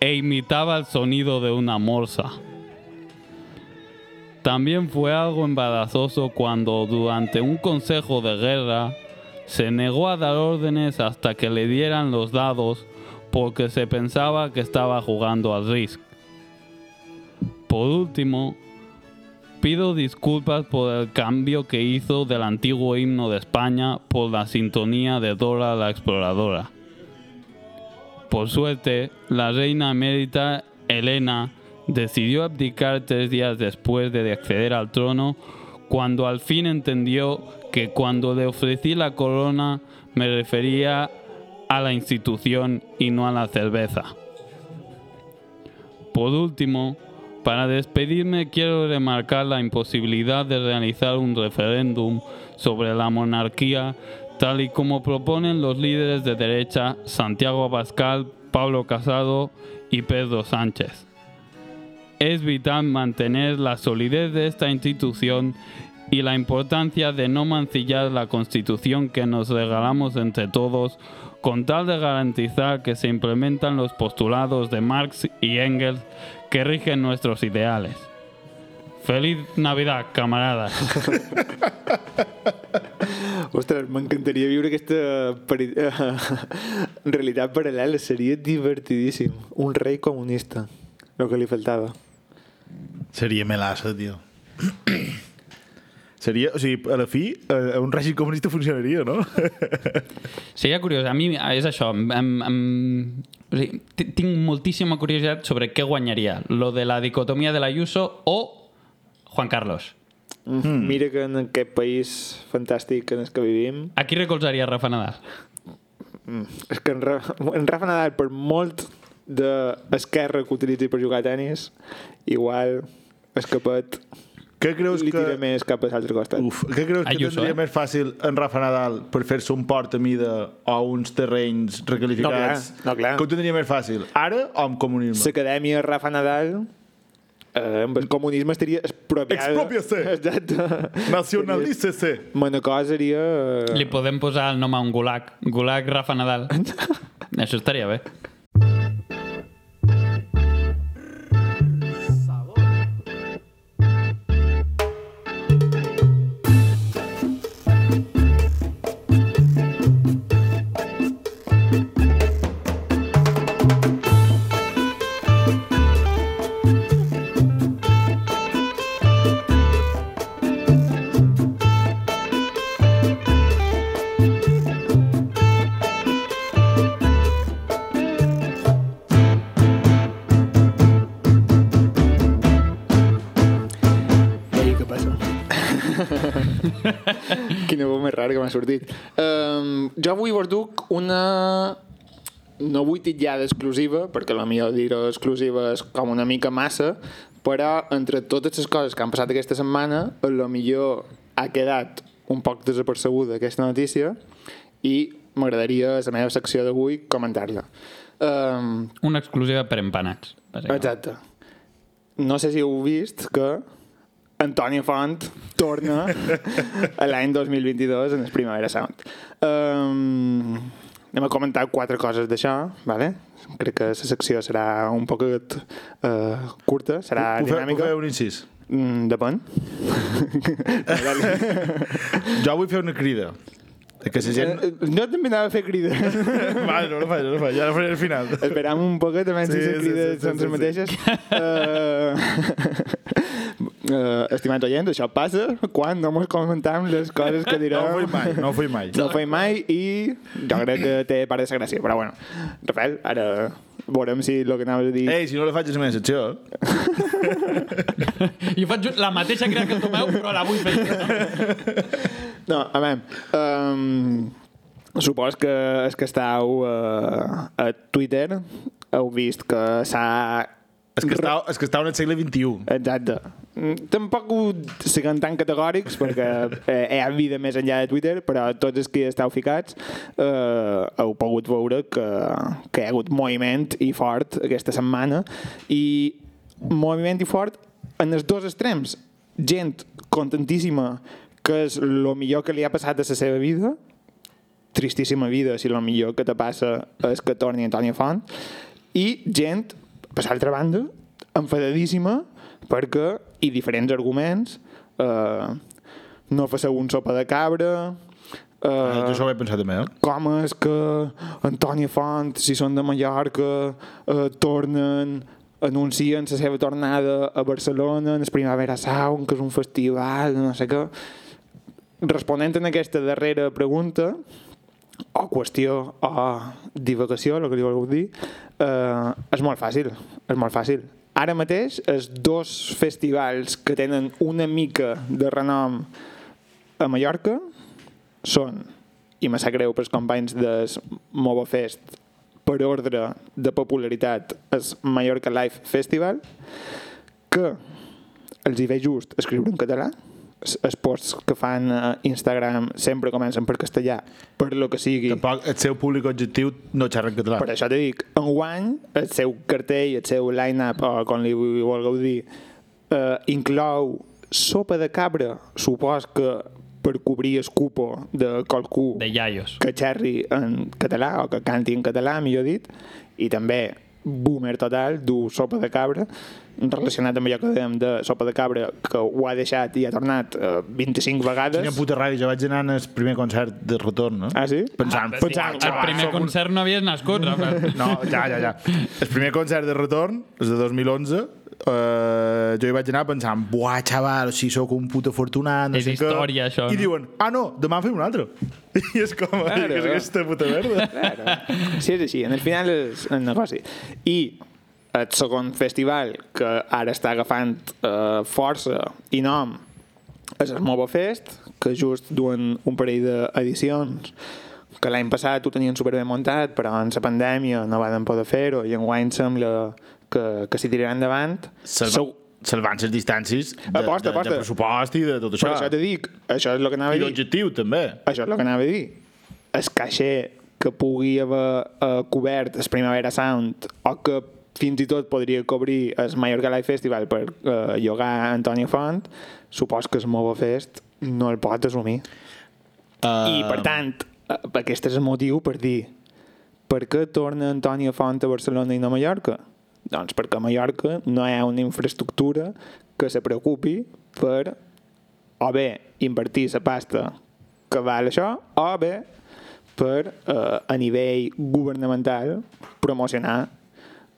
e imitaba el sonido de una morsa. También fue algo embarazoso cuando durante un consejo de guerra se negó a dar órdenes hasta que le dieran los dados porque se pensaba que estaba jugando al Risk. Por último, pido disculpas por el cambio que hizo del antiguo himno de España por la sintonía de Dora la Exploradora. Por suerte, la reina emérita Elena decidió abdicar tres días después de acceder al trono cuando al fin entendió que cuando le ofrecí la corona me refería a la institución y no a la cerveza. Por último, para despedirme quiero remarcar la imposibilidad de realizar un referéndum sobre la monarquía tal y como proponen los líderes de derecha Santiago Abascal, Pablo Casado y Pedro Sánchez. Es vital mantener la solidez de esta institución y la importancia de no mancillar la constitución que nos regalamos entre todos con tal de garantizar que se implementan los postulados de Marx y Engels que rigen nuestros ideales. Feliz Navidad, camaradas. Ostres, m'encantaria viure aquesta peri- realitat paral·lela. Seria divertidíssim. Un rei comunista. El que li faltava. Seria melassa, tio. Seria, o sigui, a la fi, eh, un règim comunista funcionaria, no? Seria curiós. A mi és això. Em, em, o sigui, ti- tinc moltíssima curiositat sobre què guanyaria. Lo de la dicotomia de l'Ayuso o Juan Carlos. Mm. Mira que en aquest país fantàstic en el que vivim, A qui recolzaria Rafa Nadal? és que en, Ra en Rafa Nadal, per molt d'esquerra que utilitzi per jugar a tenis, igual escapat Què creus li que... tira més cap a l'altre costat. Uf. Uf, què creus que Ayuso, tindria eh? més fàcil en Rafa Nadal per fer-se un port a mida o uns terrenys recalificats? No, clar, no, clar. Que ho tindria més fàcil? Ara o amb comunisme? L'acadèmia Rafa Nadal eh, amb el comunisme estaria expropiada. Expropiace. Exacte. Nacionalícese! Manacor seria... eh, Li podem posar el nom a un gulag. Gulag Rafa Nadal. Això estaria bé. Ei, què passa? Quina veu més rara que m'ha sortit. Um, jo avui vos duc una... No vull titllar d'exclusiva, perquè la millor dir exclusiva és com una mica massa, però entre totes les coses que han passat aquesta setmana, la millor ha quedat un poc desapercebuda aquesta notícia i m'agradaria a la meva secció d'avui comentar-la. Um, Una exclusiva per empanats. bàsicament. Exacte. No sé si heu vist que Antoni Font torna a l'any 2022 en el Primavera Sound. Um, anem a comentar quatre coses d'això, vale? crec que la secció serà un poquet uh, curta, serà Puc fer, puc dinàmica. fer un incís? Mm, depèn. Jo vull fer una crida. Que la gent... Eh, No també anava a fer crida. Vale, no la faig, no la faig. Ja la faré al final. Esperam un poquet abans sí, Sí, de sí, crides sí, sí, sí, sí, sí, mateixes. Sí. Uh, uh, estimats oients, això passa quan no mos comentam les coses que No direm. ho faig mai, no ho faig mai. No ho feim mai i jo crec que té part de sa gràcia, però bueno. Rafael, ara veurem si el que anaves a dir... Ei, si no la faig és la meva secció. eh? Jo faig la mateixa crida que el Tomeu, però la vull fer. No, a veure, um, supos que els que esteu uh, a Twitter heu vist que s'ha És que, està, és que està en el segle XXI. Exacte. Mm, Tampoc ho siguem tan categòrics perquè eh, hi ha vida més enllà de Twitter, però tots els que hi esteu ficats eh, heu pogut veure que, que hi ha hagut moviment i fort aquesta setmana i moviment i fort en els dos extrems. Gent contentíssima que és el millor que li ha passat a la seva vida, tristíssima vida si el millor que te passa és que torni Antònia Font i gent, per l'altra banda enfadadíssima perquè i diferents arguments eh, no faceu un sopa de cabra Uh, jo eh, això ho he pensat també, eh? com és que Antònia Font si són de Mallorca eh, tornen anuncien la seva tornada a Barcelona en el Primavera Sound que és un festival no sé què responent a aquesta darrera pregunta o qüestió o divagació, el que li vulgueu dir, eh, és molt fàcil, és molt fàcil. Ara mateix, els dos festivals que tenen una mica de renom a Mallorca són, i me sap greu pels companys de Mobofest, per ordre de popularitat, és Mallorca Live Festival, que els hi ve just escriure en català Es- els posts que fan a Instagram sempre comencen per castellà per lo que sigui Tampoc el seu públic objectiu no xerra en català. per això te dic, enguany el seu cartell, el seu line-up o com li vulgueu dir eh, inclou sopa de cabra supos que per cobrir el cupo de qualcú De iaios. que xerri en català o que canti en català, millor dit, i també boomer total, du sopa de cabra, relacionat amb allò que dèiem de sopa de cabra, que ho ha deixat i ha tornat eh, 25 vegades. Quina puta ràbia, jo vaig anar al primer concert de retorn, eh? Ah, sí? Pensant, Pensant, El primer concert no havies nascut, Rafa. No, ja, ja, ja. El primer concert de retorn és de 2011, eh, jo hi vaig anar pensant, buah, xaval, si sóc un puto afortunat, no És sé història, què. això, I no? diuen, ah, no, demà en fem un altre. I és com, Claro. que és aquesta puta merda. Claro. Sí, és així. En el final és el negoci. I el segon festival que ara està agafant eh, força i nom és el Mova Fest, que just duen un parell d'edicions que l'any passat ho tenien superben muntat, però en la pandèmia no van poder fer-ho i enguany sembla que, que s'hi tiraran davant. Segu- Salvant les distàncies de, Aposta, de, de aposta. pressupost i de tot Però això. això te dic, això és el que anava I a dir. l'objectiu, també. Això és el que anava a dir. El caixer que pugui haver eh, cobert el Primavera Sound o que fins i tot podria cobrir el Mallorca Live Festival per eh, llogar Antonio Font, supos que el Mova Fest no el pot assumir. Uh, I, per tant, eh, aquest és el motiu per dir per què torna Antonio Font a Barcelona i no a Mallorca? Doncs perquè a Mallorca no hi ha una infraestructura que se preocupi per o bé invertir la pasta que val això, o bé per, eh, a nivell governamental, promocionar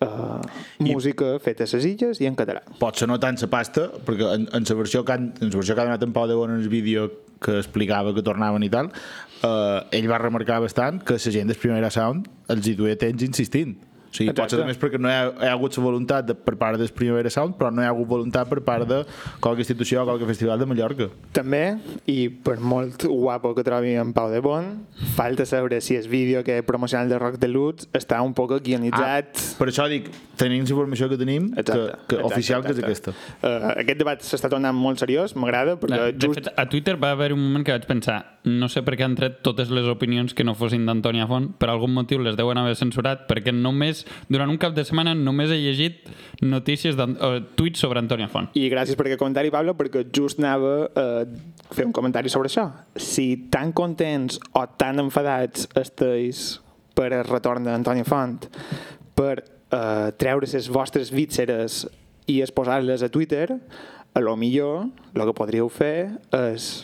eh, música feta a les illes i en català. potser no tant la pasta, perquè en, en la versió que han, en la versió que ha donat en Pau de Bon en el vídeo que explicava que tornaven i tal, eh, ell va remarcar bastant que la gent del Primera Sound els hi duia temps insistint. O sigui, Exacte. potser més perquè no hi ha, hi ha hagut la voluntat de, per part del Primera Sound, però no hi ha hagut voluntat per part de qualque institució o qualque festival de Mallorca. També, i per molt guapo que trobi en Pau de Bon, falta saber si el vídeo que he promocionat de Rock de Lutz està un poc guionitzat... Ah. per això dic, tenim la informació que tenim, Exacte, que, que exacte, oficial que és exacte. aquesta. Uh, aquest debat s'està tornant molt seriós, m'agrada, perquè De, no, de just... fet, a Twitter va haver un moment que vaig pensar no sé per què han tret totes les opinions que no fossin d'Antònia Font, per algun motiu les deuen haver censurat, perquè només durant un cap de setmana només he llegit notícies d'An- o tuits sobre Antònia Font. I gràcies per aquest comentari, Pablo, perquè just anava a fer un comentari sobre això. Si tan contents o tan enfadats esteu per el retorn d'Antoni Font, per eh, treure les vostres vísceres i exposar-les a Twitter, a lo millor el que podríeu fer és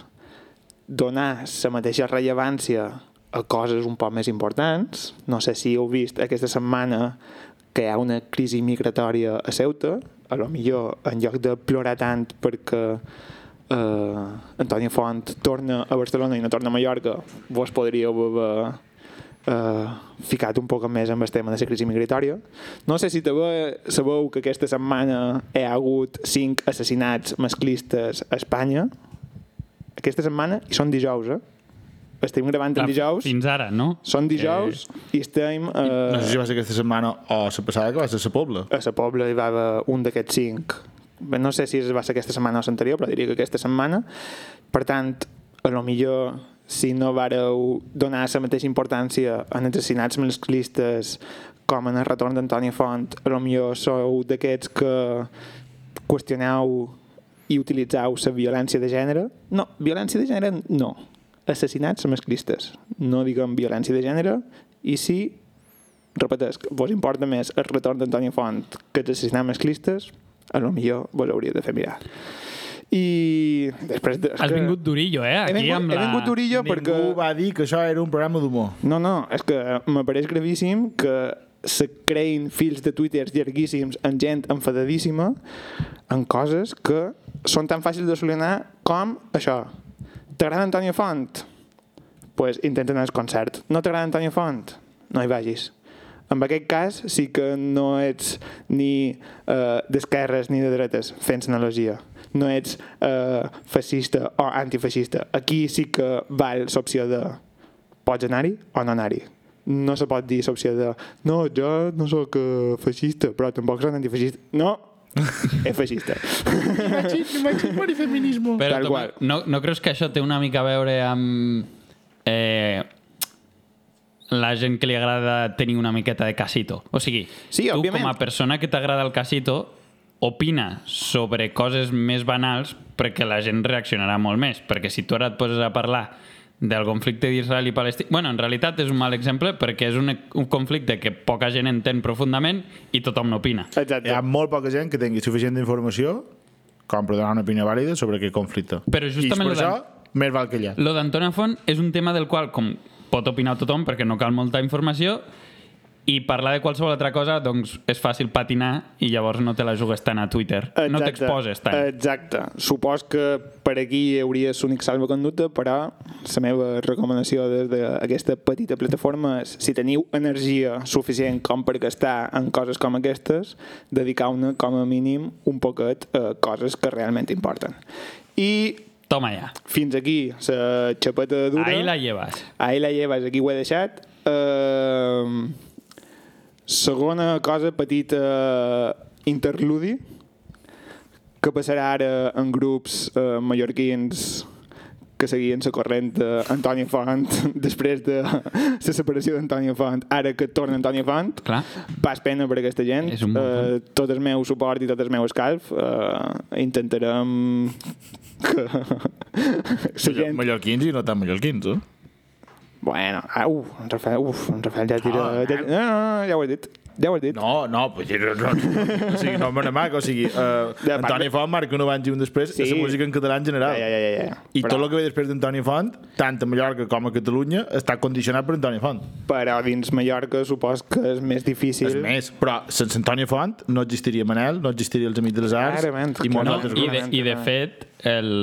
donar la mateixa rellevància a coses un poc més importants. No sé si heu vist aquesta setmana que hi ha una crisi migratòria a Ceuta. A lo millor, en lloc de plorar tant perquè eh, Antoni Font torna a Barcelona i no torna a Mallorca, vos podríeu haver eh, ficat un poc més amb el tema de la crisi migratòria. No sé si també sabeu que aquesta setmana hi ha hagut cinc assassinats masclistes a Espanya, aquesta setmana i són dijous, eh? Estem gravant Clar, Ah, en dijous, Ah, Fins ara, no? són dijous i estem No eh, sé si va ser aquesta setmana o la passada que va ser la Pobla. a la Pobla hi va haver un d'aquests cinc. Bé, No sé si es va ser aquesta setmana o l'anterior, però diria que aquesta setmana. Per tant, a lo millor si no vareu donar la mateixa importància en assassinats masclistes com en el retorn d'Antònia Font, a lo millor sou d'aquests que qüestioneu i utilitzeu la violència de gènere. No, violència de gènere no. Assassinats masclistes. No diguem violència de gènere i sí, repetesc, vos importa més el retorn d'Antònia Font que els assassinats masclistes, a lo millor vos hauria de fer mirar. I després... De, Has vingut durillo, eh? Aquí He vingut, amb la... he vingut durillo perquè... Ningú va dir que això era un programa d'humor. No, no, és que m'apareix gravíssim que se creïn fils de Twitter llarguíssims amb gent enfadadíssima en coses que són tan fàcils de solucionar com això. T'agrada Antonio Font? Doncs pues intenta anar al concert. No t'agrada Antonio Font? No hi vagis. En aquest cas sí que no ets ni eh, d'esquerres ni de dretes, fent analogia. No ets eh, fascista o antifascista. Aquí sí que val l'opció de pots anar-hi o no anar-hi. No se pot dir l'opció de no, jo no sóc eh, feixista, però tampoc soc antifeixista. No, és feixista. Machismo y feminismo. Però Tal també, qual. No, no creus que això té una mica a veure amb eh, la gent que li agrada tenir una miqueta de casito? O sigui, Sí, tu òbviament. com a persona que t'agrada el casito opina sobre coses més banals perquè la gent reaccionarà molt més. Perquè si tu ara et poses a parlar del conflicte d'Israel i Palestina... Bueno, en realitat és un mal exemple perquè és un, un conflicte que poca gent entén profundament i tothom n'opina. Hi Exacte. ha molt poca gent que tingui suficient d'informació com per donar una opinió vàlida sobre aquest conflicte. Però justament lo I per això, més val callar. Lo d'Antona Font és un tema del qual, com pot opinar tothom, perquè no cal molta informació, i parlar de qualsevol altra cosa, doncs és fàcil patinar i llavors no te la jugues tant a Twitter. No Exacte, Eh, t'exposes tant. Exacte. Supos que per aquí hi hauria l'únic salvaconducte, però la meva recomanació des d'aquesta petita plataforma és, si teniu energia suficient com per gastar en coses com aquestes, dedicar-ne com a mínim un poquet a coses que realment importen. I Toma ja. fins aquí la xapeta dura. Ahí la llevas. Ahí la lleves, aquí ho he deixat. Uh, segona cosa, petit uh, interludi, que passarà ara en grups uh, mallorquins que seguien la corrent d'Antònia Font després de la separació d'Antònia Font, ara que torna Antònia Font. Clar. Pas pena per aquesta gent. És un bon Eh, tot el meu suport i tot el meu escalf. Uh, intentarem que la Gent... gent Mallorquins i no tan mallorquins, eh? Bueno, ah, au, en Rafael, uf, en Rafael ja tira... Ah, ja, no, no, no, ja ho has dit, ja ho has dit. No, no, pues, no, no, no, o sigui, no me n'amac, o sigui, uh, De part Antoni de- Font marca un abans i un després sí. Sí. la música en català en Ja, general. ja, ja, ja, ja. I però, tot el que ve després d'Antoni Font, tant a Mallorca com a Catalunya, està condicionat per Antoni Font. Però dins Mallorca supos que és més difícil. És més, però sense Antoni Font no existiria Manel, no existiria els Amics de les Arts Clarament, i molts clarament. No, altres i, grups. de, I de fet, el,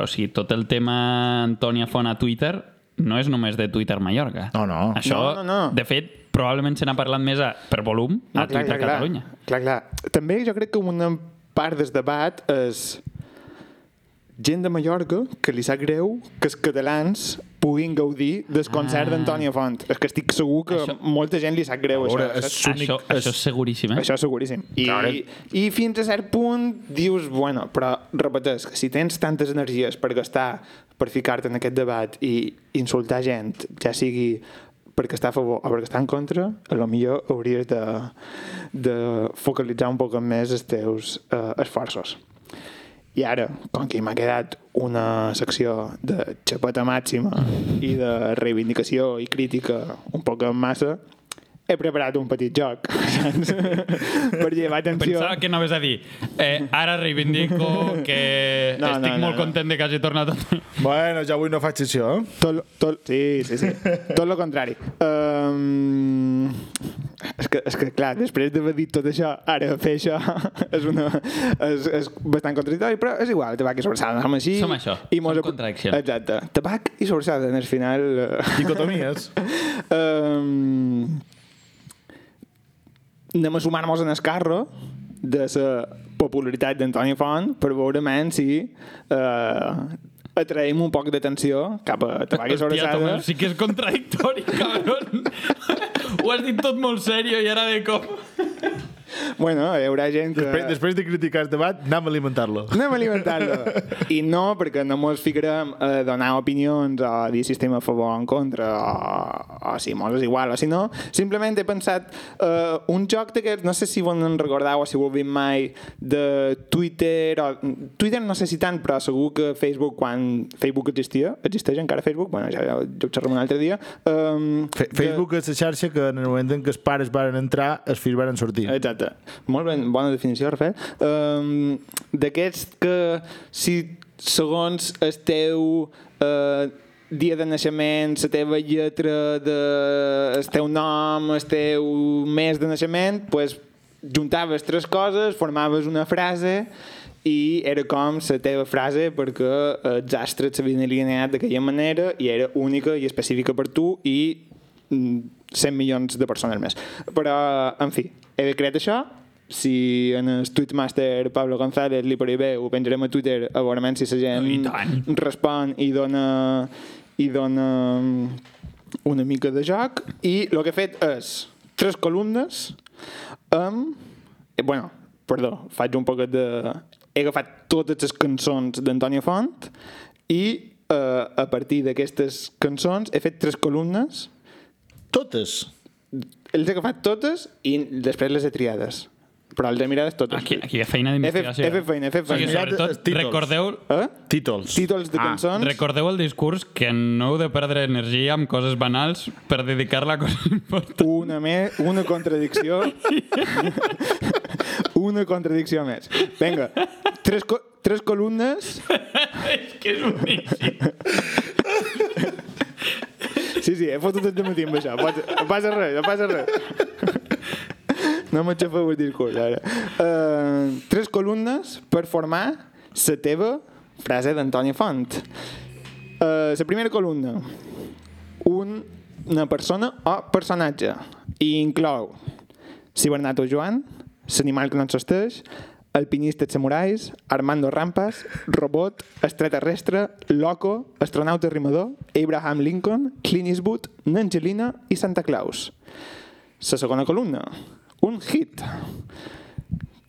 o sigui, tot el tema Antònia Font a Twitter no és només de Twitter Mallorca. No, no. Això, No, no, no. de fet, probablement se n'ha parlat més a, per volum a Twitter Catalunya. Ah, Clar, clar. També jo crec que una part del debat és gent de Mallorca que li sap greu que els catalans puguin gaudir del concert d'Antònia Font. És que estic segur que Ah. Això- molta gent li sap greu A veure, això. saps? és únic- Això, és- això és seguríssim, eh? Això seguríssim. I, Clar, eh? I fins a cert punt dius, bueno, però repeteix, si tens tantes energies per gastar, per ficar-te en aquest debat i insultar gent, ja sigui perquè està a favor o perquè està en contra, a lo millor hauries de, de focalitzar un poc més els teus eh, esforços. I ara, com que m'ha quedat una secció de xapeta màxima i de reivindicació i crítica un poc en massa, he preparat un petit joc saps? per llevar atenció. Pensava que no vas a dir eh, ara reivindico que No, no, no, no, estic no, molt no. no. content de que hagi tornat a... Bueno, ja avui no faig sessió, eh? Tot, lo- tot, sí, sí, sí. Tot lo contrari. Um, és, que, és que, clar, després d'haver dit tot això, ara fer això és, una, és, és bastant contradictori, però és igual, tabac i sobrassada, som així. Som això, mos som apu- contradiccions. Exacte. Tabac i sobrassada, en el final... eh, Dicotomies. um, anem a sumar-nos en el carro de la popularitat d'Antoni Font per veure men si uh, atraïm un poc d'atenció cap a Tabac i Sobrassada. sí que és contradictori, cabron. Ho has dit tot molt serio i ara de cop... Bueno, hi haurà gent que... Després, després de criticar el debat, anem a alimentar-lo. Anem a alimentar-lo. I no, perquè no mos ficarem a donar opinions o a dir si estem a favor o en contra o, o si mos és igual o si no. Simplement he pensat eh, un joc d'aquests, no sé si vos en recordau o si ho heu vist mai, de Twitter o... Twitter no sé si tant, però segur que Facebook, quan Facebook existia, existeix encara Facebook, bueno, ja, ja ho xerrem un altre dia, um, Fe Facebook és la xarxa que en el moment en què els pares van entrar, els fills van sortir. Exacte. Molt ben, bona definició, Rafael. Um, D'aquests que si segons el teu uh, dia de naixement, la teva lletra, de, el teu nom, el teu mes de naixement, pues, juntaves tres coses, formaves una frase i era com la teva frase perquè els astres s'havien alineat d'aquella manera i era única i específica per tu i mm, 100 milions de persones més. Però, en fi, he creat això. Si en el Tweetmaster Pablo González li pari bé, ho penjarem a Twitter a veure si la gent I tant. respon i dona, i dona mm, una mica de joc. I el que he fet és tres columnes amb... Eh, bueno, perdó, faig un poquet de... He agafat totes les cançons d'Antònia Font i eh, a partir d'aquestes cançons he fet tres columnes Totes. les he agafat totes i després les he triades. Però les he mirades totes. Aquí, aquí hi ha feina He fet- d'investigació. he fet feina, he fet O sigui, feina. sobretot, Títols. recordeu, Eh? Títols. Títols de Ah, cançons. Recordeu el discurs que no heu de perdre energia amb coses banals per dedicar-la a coses importants. una, me, una contradicció una contradicció més vinga, tres, co tres columnes és que és boníssim. Sí, sí, he fotut tot el matí amb això. Pots, no passa res, no passa res. No m'aixafeu el discurs, ara. Uh, tres columnes per formar la teva frase d'Antoni Font. Uh, la primera columna. Un, una persona o personatge. I inclou Cibernato Joan, l'animal que no existeix, alpinistes samurais, Armando Rampas, robot, extraterrestre, loco, astronauta rimador, Abraham Lincoln, Clint Eastwood, Nangelina i Santa Claus. La segona columna, un hit.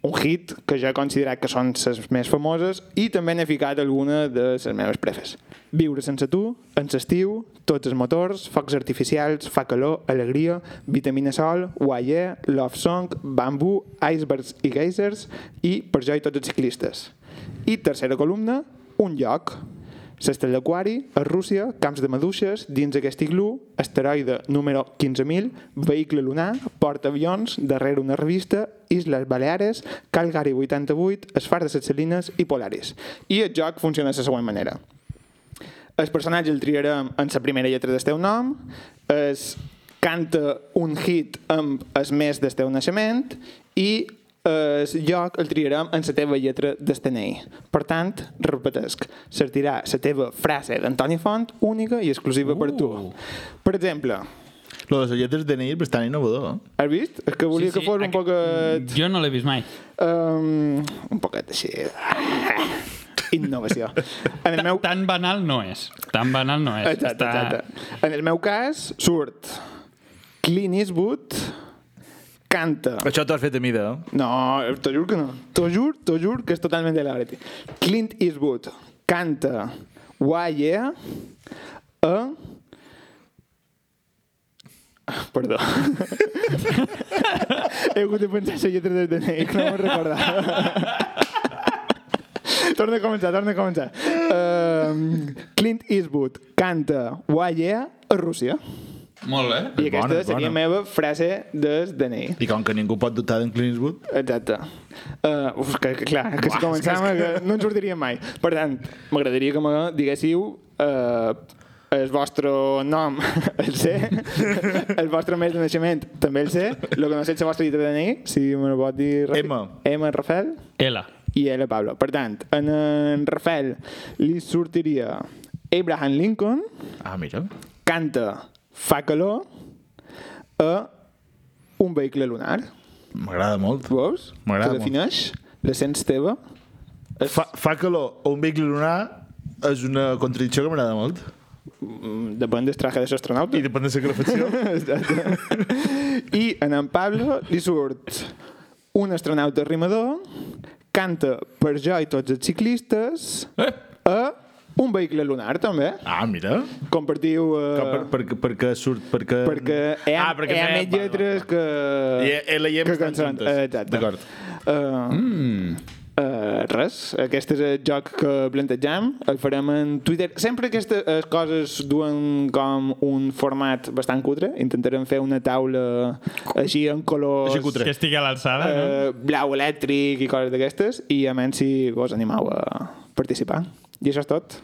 Un hit que jo he considerat que són les més famoses i també n'he ficat alguna de les meves prefes. Viure sense tu, en l'estiu, tots els motors, focs artificials, fa calor, alegria, vitamina sol, guaier, love song, bambú, icebergs i geysers i per jo i tots els ciclistes. I tercera columna, un lloc. L'estel d'aquari, a Rússia, camps de maduixes, dins aquest iglú, asteroide número 15.000, vehicle lunar, portaavions, darrere una revista, Isles Baleares, Calgary 88, es far de les Salines i Polaris. I el joc funciona de la següent manera. El personatge el triarem en la primera lletra del teu nom, es canta un hit amb el mes del teu naixement i el lloc el triarem en la teva lletra del DNI. Per tant, repetesc, sortirà la teva frase d'Antoni Font única i exclusiva uh. per tu. Per exemple, Lo de les lletres de Neir bastant innovador. eh? has vist? És que volia sí, sí, que fos un eh, aquest- poquet... Jo no l'he vist mai. Um, un poquet així... Ah, Innovació. En el meu Tan banal no és. Tan banal no és. Exacte, Està- exacte. En el meu cas, surt Clint Eastwood, canta... Això t'ho has fet a mida, eh? No, t'ho juro que no. T'ho juro, t'ho juro que és totalment de la veritat. Clint Eastwood canta Why Yeah a... Ah, Perdó. He hagut de pensar la lletra del DNI, que no me'n recordava. torna a començar, torna a començar. Um, Clint Eastwood canta Why Yeah a Rússia. Molt bé. I aquesta Bona, seria bona. meva frase del DNI. I com que ningú pot dubtar d'en Clint Eastwood, Exacte. Uh, uf, que, que, clar, que si començàvem que, no ens sortiríem mai. Per tant, m'agradaria que me diguéssiu uh, el vostre nom el sé, el vostre mes de naixement també el sé, el que no sé és la vostra lletra de DNI, si me lo pot dir ràpid. M. M, Rafael L. i L, Pablo. Per tant, en, en Rafael li sortiria Abraham Lincoln, ah, mira. canta Fa calor a un vehicle lunar. M'agrada molt. Veus? M'agrada Te defineix, la sents teva. Fa, fa calor o un vehicle lunar és una contradicció que m'agrada molt. Mm, Depèn del traje de l'astronauta. I depèn de la calefacció. I en en Pablo li surt un astronauta rimador, canta per jo i tots els ciclistes, eh? a un vehicle lunar, també. Ah, mira. Compartiu... Eh, Com Per, per, perquè surt... Perquè... perquè hi ha, hi ha feia- més lletres que... I L i M que estan consonants. juntes. Eh, Exacte. D'acord. Eh, Mm. Uh, res, aquest és el joc que plantejam, el farem en Twitter. Sempre aquestes eh, coses duen com un format bastant cutre, intentarem fer una taula així en colors... Així cutre. Ah, Que estigui a l'alçada, no? eh, blau elèctric i coses d'aquestes, i a menys si vos animau a participar. I això és tot.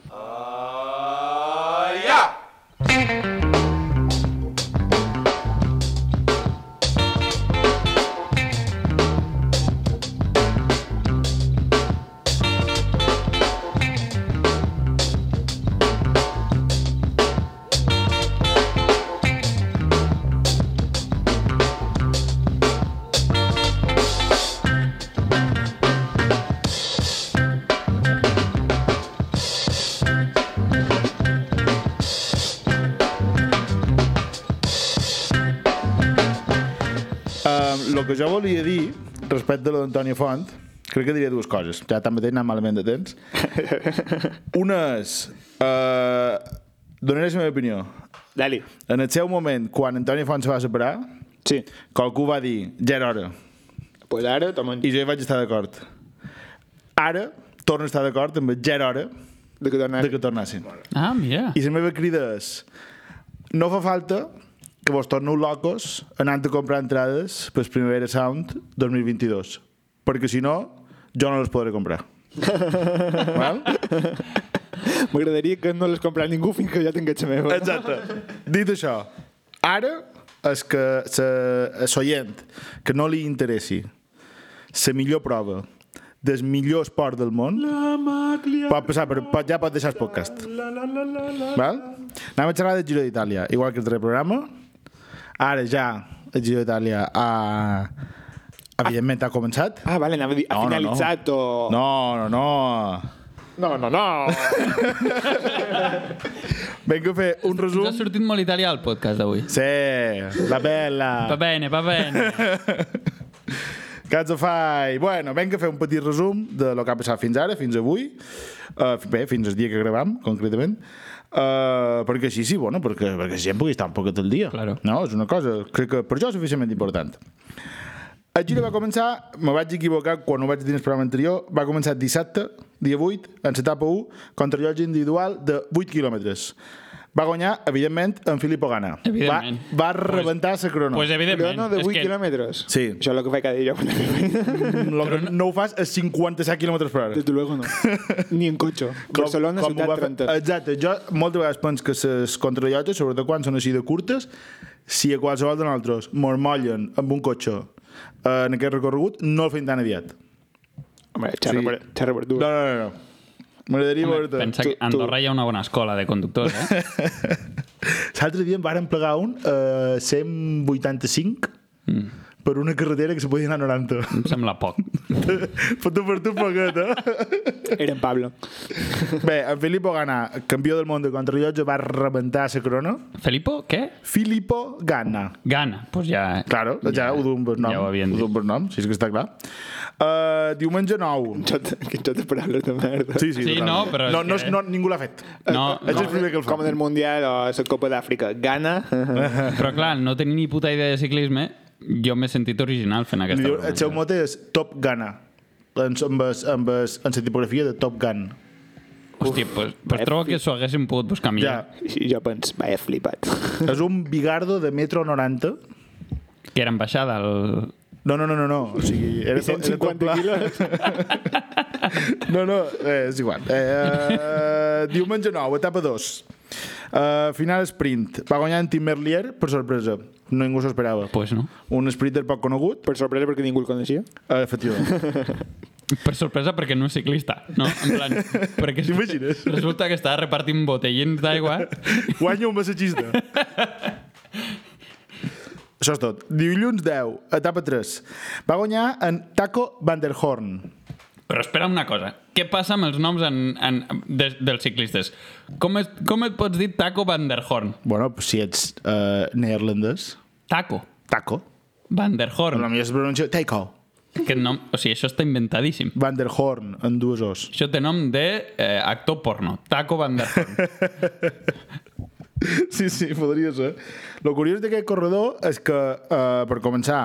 El que jo volia dir respecte a lo d'Antònia Font, crec que diria dues coses. Ja tanmateix anant malament de temps. Una és... Eh, donaré la meva opinió. Dali. En el seu moment, quan Antònia Font se va separar, Sí. qualcú va dir, ja era hora. Pues ara, toma un... I jo hi vaig estar d'acord. Ara, torno a estar d'acord amb el ja era hora De que tornar. de que tornassin. Ah, mira. I la meva crida és no fa falta que vos torneu locos anant a comprar entrades per Primavera Sound 2022 perquè si no, jo no les podré comprar. Val? M'agradaria que no les comprés ningú fins que jo tingués la meva. Exacte. Dit això, ara és que l'oient que no li interessi la millor prova del millor esport del món pot passar per, pot, ja pot deixar el podcast. Val? Anem a xerrar del Giro d'Itàlia, igual que el altre programa. Ara ja el Giro d'Itàlia ha... Evidentment ha començat. Ah, vale, anava a dir, ha finalitzat no. o... No, no, no, no. no. no. Vinc a fer un Ens ha resum. sortit molt italià el podcast d'avui. Sí, la bella. Ah. Va bene, va bene. Cats of Fai. Bueno, vinc a fer un petit resum de lo que ha passat fins ara, fins avui. Uh, bé, fins al dia que gravam, concretament. Uh, perquè així sí, bueno, perquè, perquè la gent pugui estar un poquet al dia. Claro. No, és una cosa, crec que per això és suficientment important. El giro va començar, me vaig equivocar quan ho vaig dir en el programa anterior, va començar dissabte, dia 8, en l'etapa 1, contra llotge individual de 8 quilòmetres. Va guanyar, evidentment, en Filippo Gana. Evidentment. Va, va rebentar la crona. pues Però evidentment. no de és 8 que- quilòmetres. Sí. Això és el que faig cada dia jo quan arribo. Lo que no ho fas és 57 km per hora. Desde luego no. Ni en cotxe. Barcelona, ho va ciutat fer- Ah, 30. Exacte, jo moltes vegades penso que les contrallotges, sobretot quan són així de curtes, si a qualsevol de nosaltres mormollen amb un cotxe eh, en aquest recorregut, no el fem tan aviat. Home, xerra, Sí. per, xerra per tu. No, no, no. no. M'agradaria veure-te. Pensa que a Andorra hi ha una bona escola de conductors, eh? L'altre dia en varen plegar un eh, 185 mm. per una carretera que se podia anar a 90. Em sembla poc. per tu, per tu, poquet, eh? Era en Pablo. Bé, en Filippo Ganà, campió del món de contrallotge, va rebentar la corona. Felipo, què? Filippo Ganna. Gana. Pues ja... eh. Claro, doncs ja, ja ho duim per nom. Ja ho havien ho dit. duim per nom, si és que està clar. Uh, diumenge 9. Xot, que xot de paraules de merda. Sí, sí, Sí, totalment. no, però No, és no, que- no, ningú l'ha fet. No, Eh, És no. el primer que el fa. Eh. Com en el Mundial o la Copa d'Àfrica. Gana. eh. Però clar, al no tenia ni puta idea de ciclisme, jo m'he sentit original fent Li aquesta diu, broma. el seu mot és Top Gana. Amb, amb, es- amb, es- amb la tipografia de Top Gun. Hòstia, pues, eh, pues trobo que s'ho haguéssim pogut buscar Ja. millor. I jo penso, vaja, flipat. és un bigardo de metro 90. Que era ambaixada el... No, no, no, no, no. O sigui, era, I tot- era tot 150 pla. quilos. No, no, eh, és igual. Eh, eh, diumenge 9, etapa 2. Eh, final sprint. Va guanyar en Tim Merlier, per sorpresa. No ningú s'ho esperava. Pues no. Un sprinter poc conegut, Per sorpresa, perquè ningú el coneixia. Eh, efectivament. Per sorpresa, perquè no és ciclista, no? En plan, perquè T'imagines? resulta que estava repartint botellins d'aigua. Guanya un massatgista. Això és tot. Dilluns 10, etapa 3. Va guanyar en Taco Van der Horn. Però espera una cosa. Què passa amb els noms en, en, de, dels ciclistes? Com, es, com et pots dir Taco Van der Horn? Bueno, pues si ets eh, neerlandès, Taco Taco. Van der Però la Horn. millor es pronuncia Taco Aquest nom, o sigui, això està inventadíssim. Van der Horn, en dues os. Això té nom de eh, actor porno. Taco Van der Horn. Sí, sí, podria ser. El curiós d'aquest corredor és que, eh, per començar,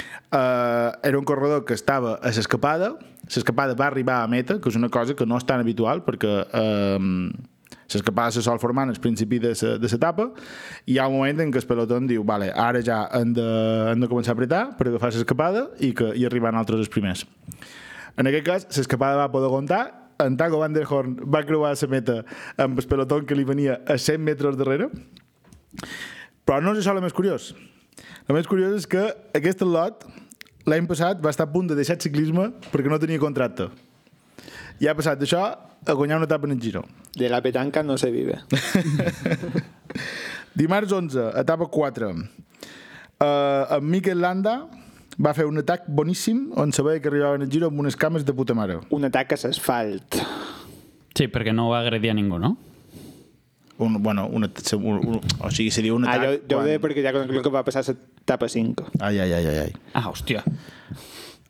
eh, era un corredor que estava a l'escapada, l'escapada va arribar a meta, que és una cosa que no és tan habitual, perquè eh, l'escapada se sol formar en el principi de sa- de l'etapa, i hi ha un moment en què el pelotón diu vale, ara ja hem de, hem de començar a apretar per agafar l'escapada i, que, i arribar en altres els primers. En aquest cas, l'escapada va poder aguantar, en Taco Van der Horn va creuar la meta amb el pelotón que li venia a 100 metres darrere, però no és això el més curiós. El més curiós és que aquest lot l'any passat va estar a punt de deixar el ciclisme perquè no tenia contracte. I ha passat d'això a guanyar una etapa en el Giro. De la petanca no se vive. Dimarts 11, etapa 4. Uh, en Miquel Landa va fer un atac boníssim on se veia que arribava en el Giro amb unes cames de puta mare. Un atac a l'asfalt. Sí, perquè no va agredir a ningú, no? Un, bueno, un, at- un, un, o sigui, seria un Ah, atac... jo, jo ho quan- deia perquè ja conec el que va passar a l'etapa 5. Ai, ai, ai, ai, ai. Ah, hòstia.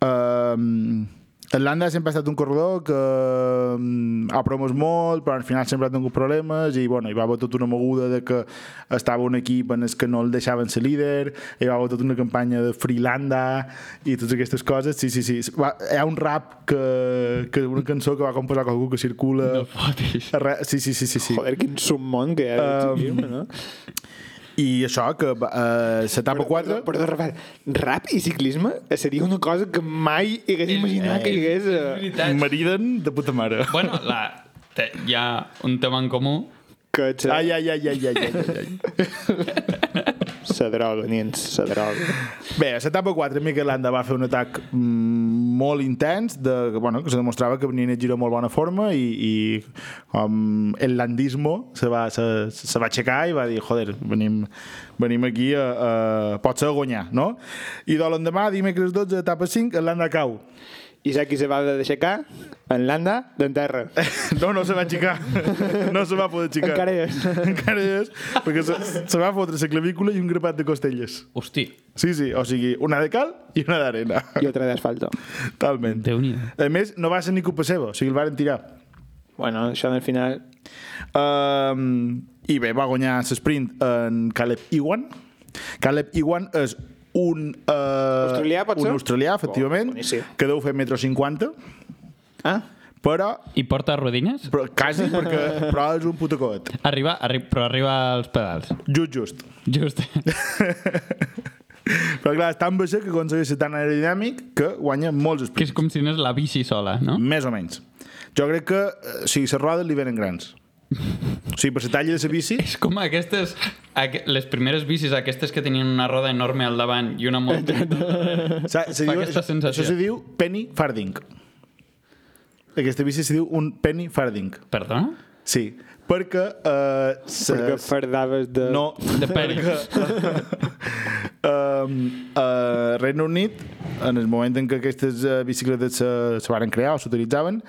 Um, el Landa sempre ha estat un corredor que um, ha promos molt, però al final sempre ha tingut problemes i bueno, hi va haver tota una moguda de que estava un equip en el que no el deixaven ser líder, hi va haver tota una campanya de Freelanda i totes aquestes coses. Sí, sí, sí. Va, hi ha un rap que, que una cançó que va composar algú que circula... No fotis. Arre- Sí, sí, sí, sí. sí. Joder, quin submón que hi ha. Um, no? I això, que eh, l'etapa 4... Perdó, Rafael, rap i ciclisme seria una cosa que mai hagués imaginat que hi hagués... Eh, Veritat. Mariden de puta mare. Bueno, la, te- hi ha un tema en comú. Que se, Ai, ai, ai, ai, ai, ai, ai, ai. se droga, nens, se droga. Bé, a l'etapa 4, Miquel Landa va fer un atac mm, molt intens, de, bueno, que se demostrava que venia en giro molt bona forma i, i com el landismo se va, se, se va aixecar i va dir, joder, venim, venim aquí a, a, potser a guanyar, no? I de l'endemà, dimecres 12, etapa 5, el Landa cau. I saps qui se va d'aixecar? En Landa, d'en terra. No, no se va aixecar. No se va poder aixecar. Encara hi és. Encara hi és, perquè se, se va fotre la clavícula i un grapat de costelles. Hosti, Sí, sí, o sigui, una de cal i una d'arena. I otra d'asfalto. Totalment. Déu-n'hi-do. A més, no va ser ni culpa seva, o sigui, el van tirar. Bueno, això al final... Um, I bé, va guanyar l'esprint en Caleb Iwan. Caleb Iwan és un... Uh, Australià, pot un ser? australià, efectivament, Oh, boníssim. que deu fer metro 50, Ah? però, i porta rodines? però quasi, perquè, però és un putacot. Arriba, arri però arriba als pedals. Just, just. Just. Però clar, és tan baixa que aconsegueix ser tan aerodinàmic que guanya molts que sprints. és com si anés la bici sola, no? Més o menys. Jo crec que, eh, si les rodes li venen grans. O sigui, per la talla de la bici... És com aquestes... aqu- Les primeres bicis, aquestes que tenien una roda enorme al davant i una molt... Se, se Fa diu, aquesta sensació. Això se diu penny farding. Aquesta bici se diu un penny farding. Perdona? Sí, perquè... Eh, se, Perquè fardaves de... No, De penny. um, a Regne Unit, en el moment en què aquestes eh, bicicletes se, se varen crear o s'utilitzaven,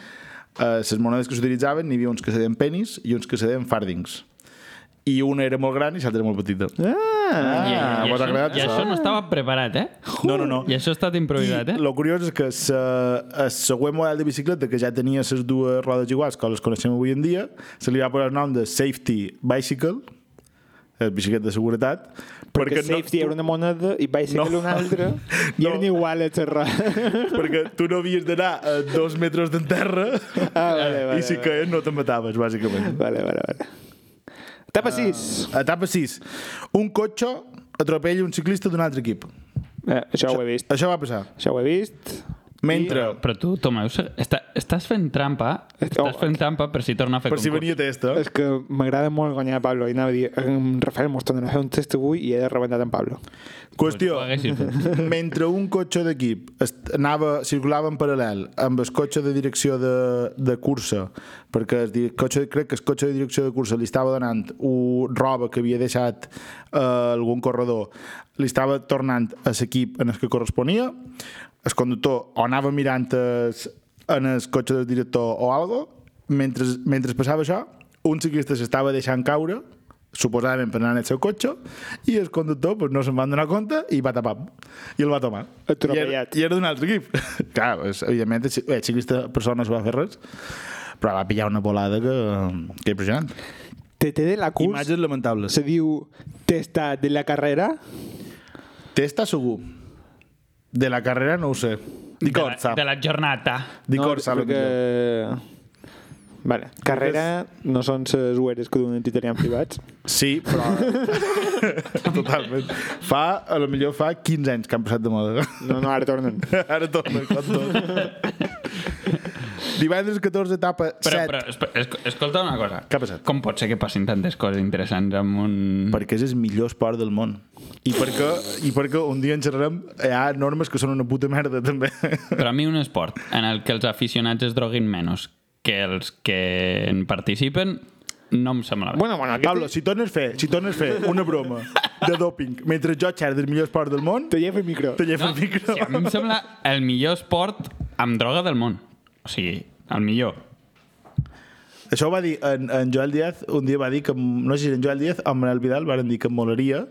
eh, les monedes que s'utilitzaven n'hi havia uns que se deien penis i uns que se deien fardings. I una era molt gran i l'altra era molt petita. Ah, I, Ah, i, vos això, ha agradat I això? això no estava preparat, eh? No, no, no. I això ha estat improvisat, eh? I lo curiós és que se- el següent model de bicicleta, que ja tenia les dues rodes iguals que les coneixem avui en dia, se li va posar el nom de Safety Bicycle, eh, bicicleta de seguretat, perquè, perquè, perquè safety no, era una moneda i bicycle No. no. una altra i No. eren igual a xerrar. tu, perquè tu no havies d'anar a dos metres de terra Ah, vale, vale, i si que no te mataves, bàsicament. Vale, vale, vale. Etapa Ah. 6. Etapa 6. Un cotxe atropella un ciclista d'un altre equip. Eh, això ho he vist. Això va passar. Això ho he vist. Mentre... Però tu, Tomaus, està, estàs fent trampa. Estàs fent trampa per si torna a fer Per si concurs. venia testa. És que m'agrada molt guanyar a Pablo i anava a dir, em, Rafael mos tornarà a fer un test avui i he rebentat en Pablo. Qüestió. Ho haguessis fet. mentre un cotxe d'equip est- anava, circulava en paral·lel amb el cotxe de direcció de, de cursa perquè el di- cotxe, crec que el cotxe de direcció de cursa li estava donant un roba que havia deixat eh, algun corredor li estava tornant a l'equip en el que corresponia el conductor o anava mirant es, en el cotxe del director o algo mentre, mentre passava això un ciclista s'estava deixant caure suposadament per anar en el seu cotxe i el conductor pues, no se'n va donar compte i va tapar i el va tomar Atropellat. i era, i era d'un altre equip clar, pues, evidentment el ci- bé, el ciclista per sort no es va fer res però va pillar una volada que, que impressionant TT de la curs imatges lamentables se diu testa de la carrera. testa segur de la carrera no ho sé De di la, corsa de la jornata. di corsa no, no, que... que... Vale. Carrera no són les ueres que donen titarian privats. sí, però totalment fa, a lo millor fa 15 anys que han passat de moda No, no, ara tornen. Ara torna, com tot. Divendres 14, etapa Però, 7. però espe- esc- escolta una cosa. Què ha passat? Com pot ser que passin tantes coses interessants amb un... Perquè és el millor esport del món. I perquè, I perquè un dia en xerrarem hi ha normes que són una puta merda, també. Per a mi un esport en el que els aficionats es droguin menys que els que en participen no em sembla bé. Bueno, bueno, aquest... Pablo, si tornes a fer, si tornes a fer una broma de doping mentre jo xerro del millor esport del món, Te llevo el micro. te llevo el micro. Sí, a mi em sembla el millor esport amb droga del món. O sigui, el millor. Això ho va dir en, en Joel Díaz, un dia va dir que, no sé si era en Joel Díaz o en Manel Vidal, van dir que molaria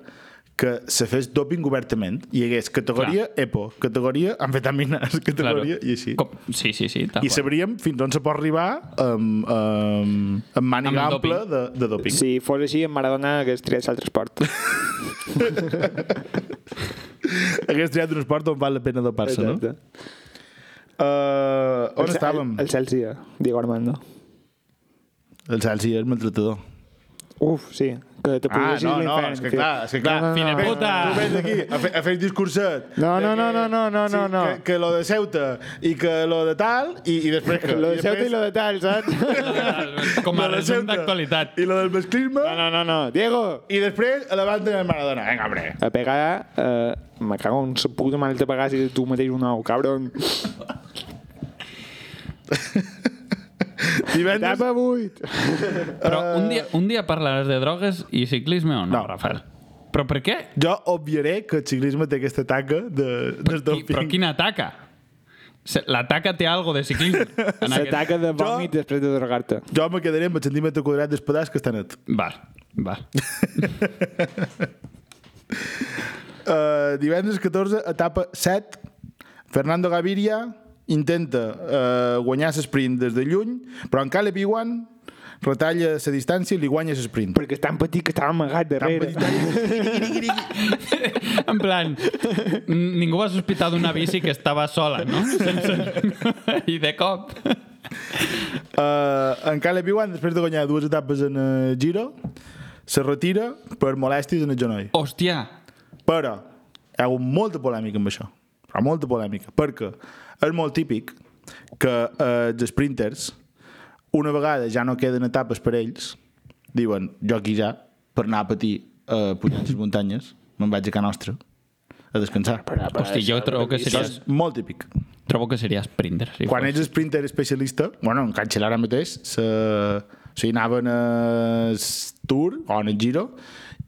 que se fes doping obertament. Hi hagués categoria EPO, categoria amfetamines, categoria... I així. Com... Sí, sí, sí. tal I qual. sabríem fins on se pot arribar amb, amb, amb màniga Amb el ampla de, de doping. Si fos així, en Maradona hagués triat l'altre esport. Hagués triat un esport on val la pena dopar-se, no? Exacte. Uh, El- on estàvem? El, el Chelsea, Diego Armando. El Salsi és maltratador. Uf, sí. Que te Ah, pugui no, no, és que clar, és que clar. Fill de Ves- puta! Tu vens aquí a fer, a fer el discurset. No, no, de que- no, no, no, no, sí, no, no. Que, que lo de Ceuta i que lo de tal i, i després que... Lo de Ceuta i després- lo de tal, saps? Com a lo de resum Ceuta d'actualitat. I lo del masclisme No, no, no, no. Diego! i després a la banda de Maradona. Vinga, hombre. A pegar... Eh, me cago en sa puta mare te pagar si tu mateix un ou, cabron. Divendres... Tapa 8! Però un dia, un dia parlaràs de drogues i ciclisme o no, Ah. No. Rafael? Però per què? Jo obviaré que el ciclisme té aquesta taca de, del Qui, però doping. quina taca? Se- La taca té algo de ciclisme. en aquest- S'ataca de vòmit després de drogar-te. Jo me quedaré amb el centímetre quadrat del pedaç que està net. Val, val. Uh, divendres 14, etapa 7. Fernando Gaviria intenta uh, guanyar l'esprint des de lluny, però en Caleb Iwan retalla la distància i li guanya l'esprint. Perquè és tan petit que estava amagat darrere. En plan, n- ningú va sospitar d'una bici que estava sola, no? Sense... I de cop... Uh, en Caleb Iwan, després de guanyar dues etapes en el Giro, se retira per molèsties en el genoll. Hòstia, Però hi ha hagut molta polèmica amb això. Però molta polèmica. Perquè és molt típic que eh, els sprinters, una vegada ja no queden etapes per ells, diuen, jo aquí ja, per anar a patir eh, pujant les muntanyes, me'n vaig a Can Nostra a descansar. hòstia, jo trobo que Això seria, és molt típic. trobo que seria sprinter. Si Quan fos. ets sprinter especialista, bueno, en Cancel ara mateix, se... o sigui, anaven a s- Tour o en el Giro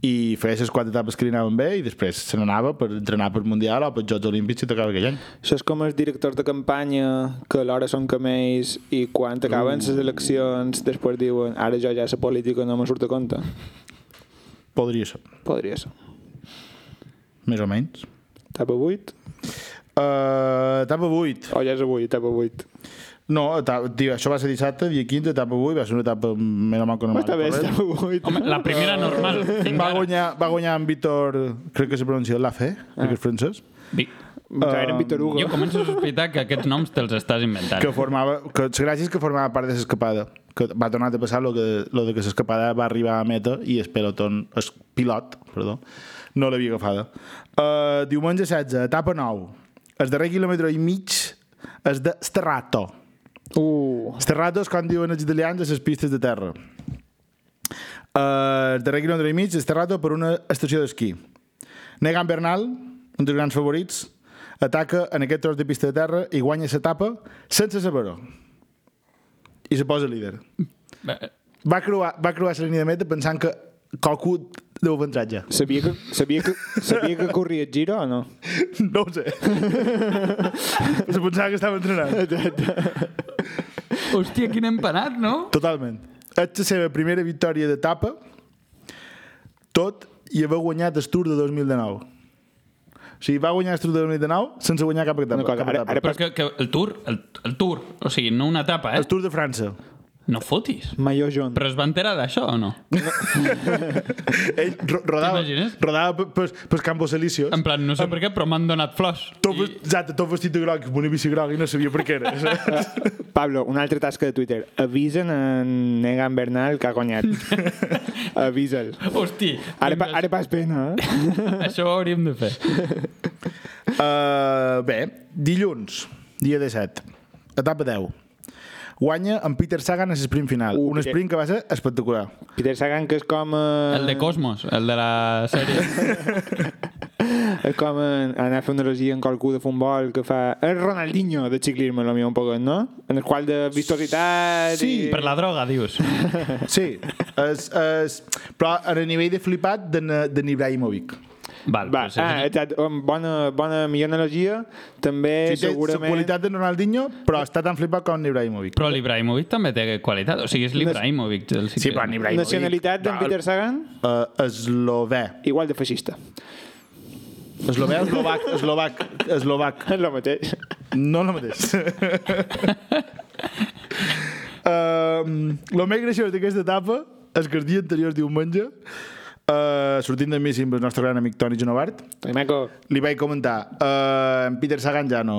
i feia les quatre etapes que li anaven bé i després se n'anava per entrenar per Mundial o per Jocs Olímpics si t'acaba aquell any. Això és com els directors de campanya que alhora són camells i quan Mm. acaben les eleccions després diuen ara jo ja la política no me surt a compte. Podria ser, Podria ser. més o menys. Etapa 8? Uh, etapa 8. O ja és avui, etapa 8. No, etapa, tio, això va ser dissabte, dia 15, etapa 8, va ser una etapa més o menys que no Està bé, etapa 8. Home, la primera normal. Fins Va ara. guanyar, va guanyar en Víctor, crec que se pronuncia Lafé, ah. crec que és francès. Vi- Ja eren Jo Vitoruga. començo a sospitar que aquests noms te'ls estàs inventant. que formava, que gràcies que formava part de l'escapada que va tornar a passar lo que, lo de que l'escapada va arribar a meta i el peloton, el pilot, perdó, no l'havia agafada. Uh, diumenge 16, etapa 9. El darrer quilòmetre i mig és de Sterrato. Uh, Sterrato és com diuen els italians a les pistes de terra. Uh, el darrer quilòmetre i mig, Sterrato per una estació d'esquí. Negan Bernal, un dels grans favorits, ataca en aquest tros de pista de terra i guanya l'etapa sense saber-ho. I se posa líder. Eh, Va creuar, va creuar la línia de meta pensant que Cocu deu avançar ja. sabia, que, sabia, que, sabia que corria el giro o no? No ho sé. se pensava que estava entrenant. Hòstia, quin empanat, no? Totalment. És la seva primera victòria d'etapa, tot i haver guanyat el Tour de 2019. O sigui, va guanyar el Tour de 2019 sense guanyar cap etapa. Una cosa, cap ara- etapa. ara- Però és que, que el tour, el, el tour, o sigui, no una etapa, El eh? Tour de França. No fotis. Mayor John. Però es va enterar d'això o no? Eh? Ell ro- rodava, T'imagines? rodava pe- pe- pels Campos Elíseos. En plan, no sé per què, però m'han donat flors. Tot, I... Exacte, tot vestit de groc, amb una bici groc i no sabia per què era. Eh, Pablo, una altra tasca de Twitter. Avisen en Negan Bernal que ha guanyat. Avisa'l. Hosti, Ara, pa, ara pas pena, eh? això ho hauríem de fer. uh, bé, dilluns, dia 17, etapa 10. Guanya en Peter Sagan a l'esprint final. Uh, Uh, un Peter- sprint que va ser espectacular. Peter Sagan, que és com... Eh... El de Cosmos, el de la sèrie. És com en, anar a fer una regia en qualcú de futbol que fa el Ronaldinho de ciclisme, lo mío, un poc, no? En el qual de vistositat... Sí. i... Per la droga, dius. Sí, és, és, però a nivell de flipat de, na- de Ibrahimovic. Val, Va, doncs, ah, eh. exacte, um, bona, bona, millor analogia. També, Sí, té la segurament... qualitat Eh, de Ronaldinho, però està tan flipat com Ibrahimovic. Però l'Ibrahimovic també té qualitat. O sigui, és l'Ibrahimovic. del Sí, ciclisme. però Ibrahimovic... Nacionalitat d'en Peter Sagan, Uh, eslové. igual de feixista. Eslové, eslovac, eslovac, eslovac. És el mateix. No el mateix. um, lo més graciós d'aquesta etapa és que el dia anterior, diumenge, uh, sortint de míssim amb el nostre gran amic Toni Genovart, Maco, eh, li vaig comentar uh, en Peter Sagan ja no,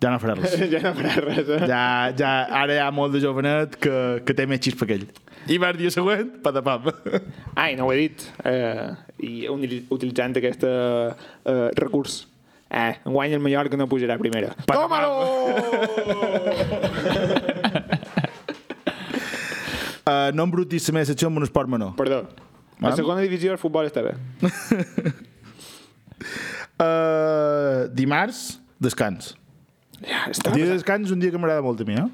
Ja no farà res. ja no farà res, eh? Ja, ja, ara hi ha molt de jovenet que, que té més xispa que ell. I va el dia següent, patapam. Ai, no ho he dit. Eh, I uni- utilitzant aquest eh, recurs. Eh, enguany el Mallorca no pujarà a primera. Uh, no embrutis la meva secció amb un esport menor. Perdó. La Vam? segona divisió del futbol està bé. Uh, dimarts, descans. Ja, està Dia de descans és un dia que m'agrada molt a mi, eh?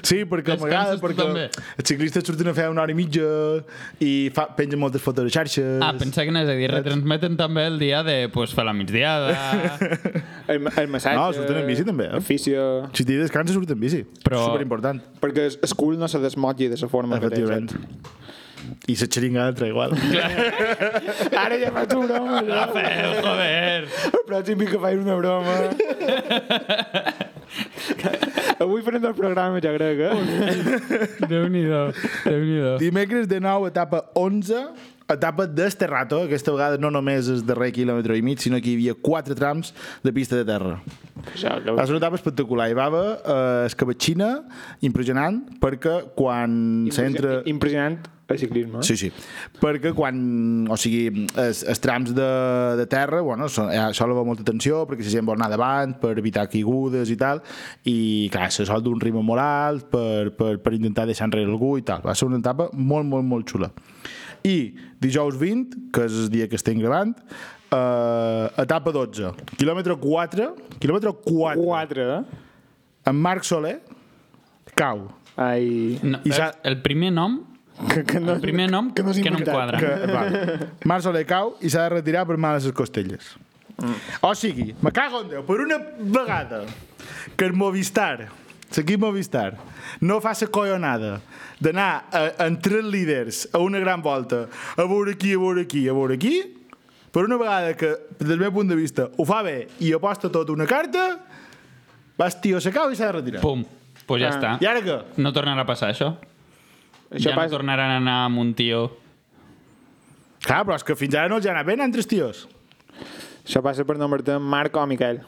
Sí, perquè Descanses m'agrada, tu perquè també? els ciclistes surten a fer una hora i mitja i fa, pengen moltes fotos a xarxes. Ah, pensava que n'és a dir, retransmeten també el dia de pues, fer la migdiada, El, el massatge... No, surten en bici, també, eh? El fisio... Si t'hi descansa, surten en bici. Però... Però- Superimportant, Perquè es- el cul no se desmotlli de la forma que té. efectivament. I la xeringada entra igual. saps? Ara ja faig una broma. ja. Rafael, joder. El pròxim que faig una broma. Avui farem del programa, ja crec, eh? Déu-n'hi-do, Déu-n'hi-do. Dimecres de nou, etapa 11, etapa d'Esterrato. Aquesta vegada no només és darrer quilòmetre i mig, sinó que hi havia quatre trams de pista de terra. Això, lo- Va ser una etapa espectacular. Hi va haver eh, escabatxina impressionant perquè quan s'entra... Impressionant el ciclisme. eh? Sí, sí. Perquè quan... O sigui, els, els trams de, de terra, bueno, so, eh, sol haver molta tensió perquè la gent vol anar davant per evitar caigudes i tal, i clar, se sol d'un ritme molt alt per, per, per intentar deixar enrere algú i tal. Va ser una etapa molt, molt, molt xula. I dijous 20, que és el dia que estem gravant, eh, etapa 12, quilòmetre 4, quilòmetre 4, 4. Quatre, eh? en Marc Soler cau. Ai... No, I s'ha- El primer nom, Que, que no, Mm. el primer nom que no, que no em quadra. Que, va. Marc Soler cau i s'ha de retirar per males les costelles. O sigui, me cago en Déu, per una vegada que el Movistar, l'equip Movistar, no fa la collonada d'anar a- amb tres líders a una gran volta, a veure aquí, a veure aquí, a veure aquí, per una vegada que, des del meu punt de vista, ho fa bé i aposta tot una carta, vas, tio, se cau i s'ha de retirar. Pum, pues ja està. I ara què? No tornarà a passar això. Això ja passa. no tornaran a anar amb un tio... Clar, però és que fins ara no els ha anat bé, anant tres tios. Això passa per nombrar-te Marc o Miquel.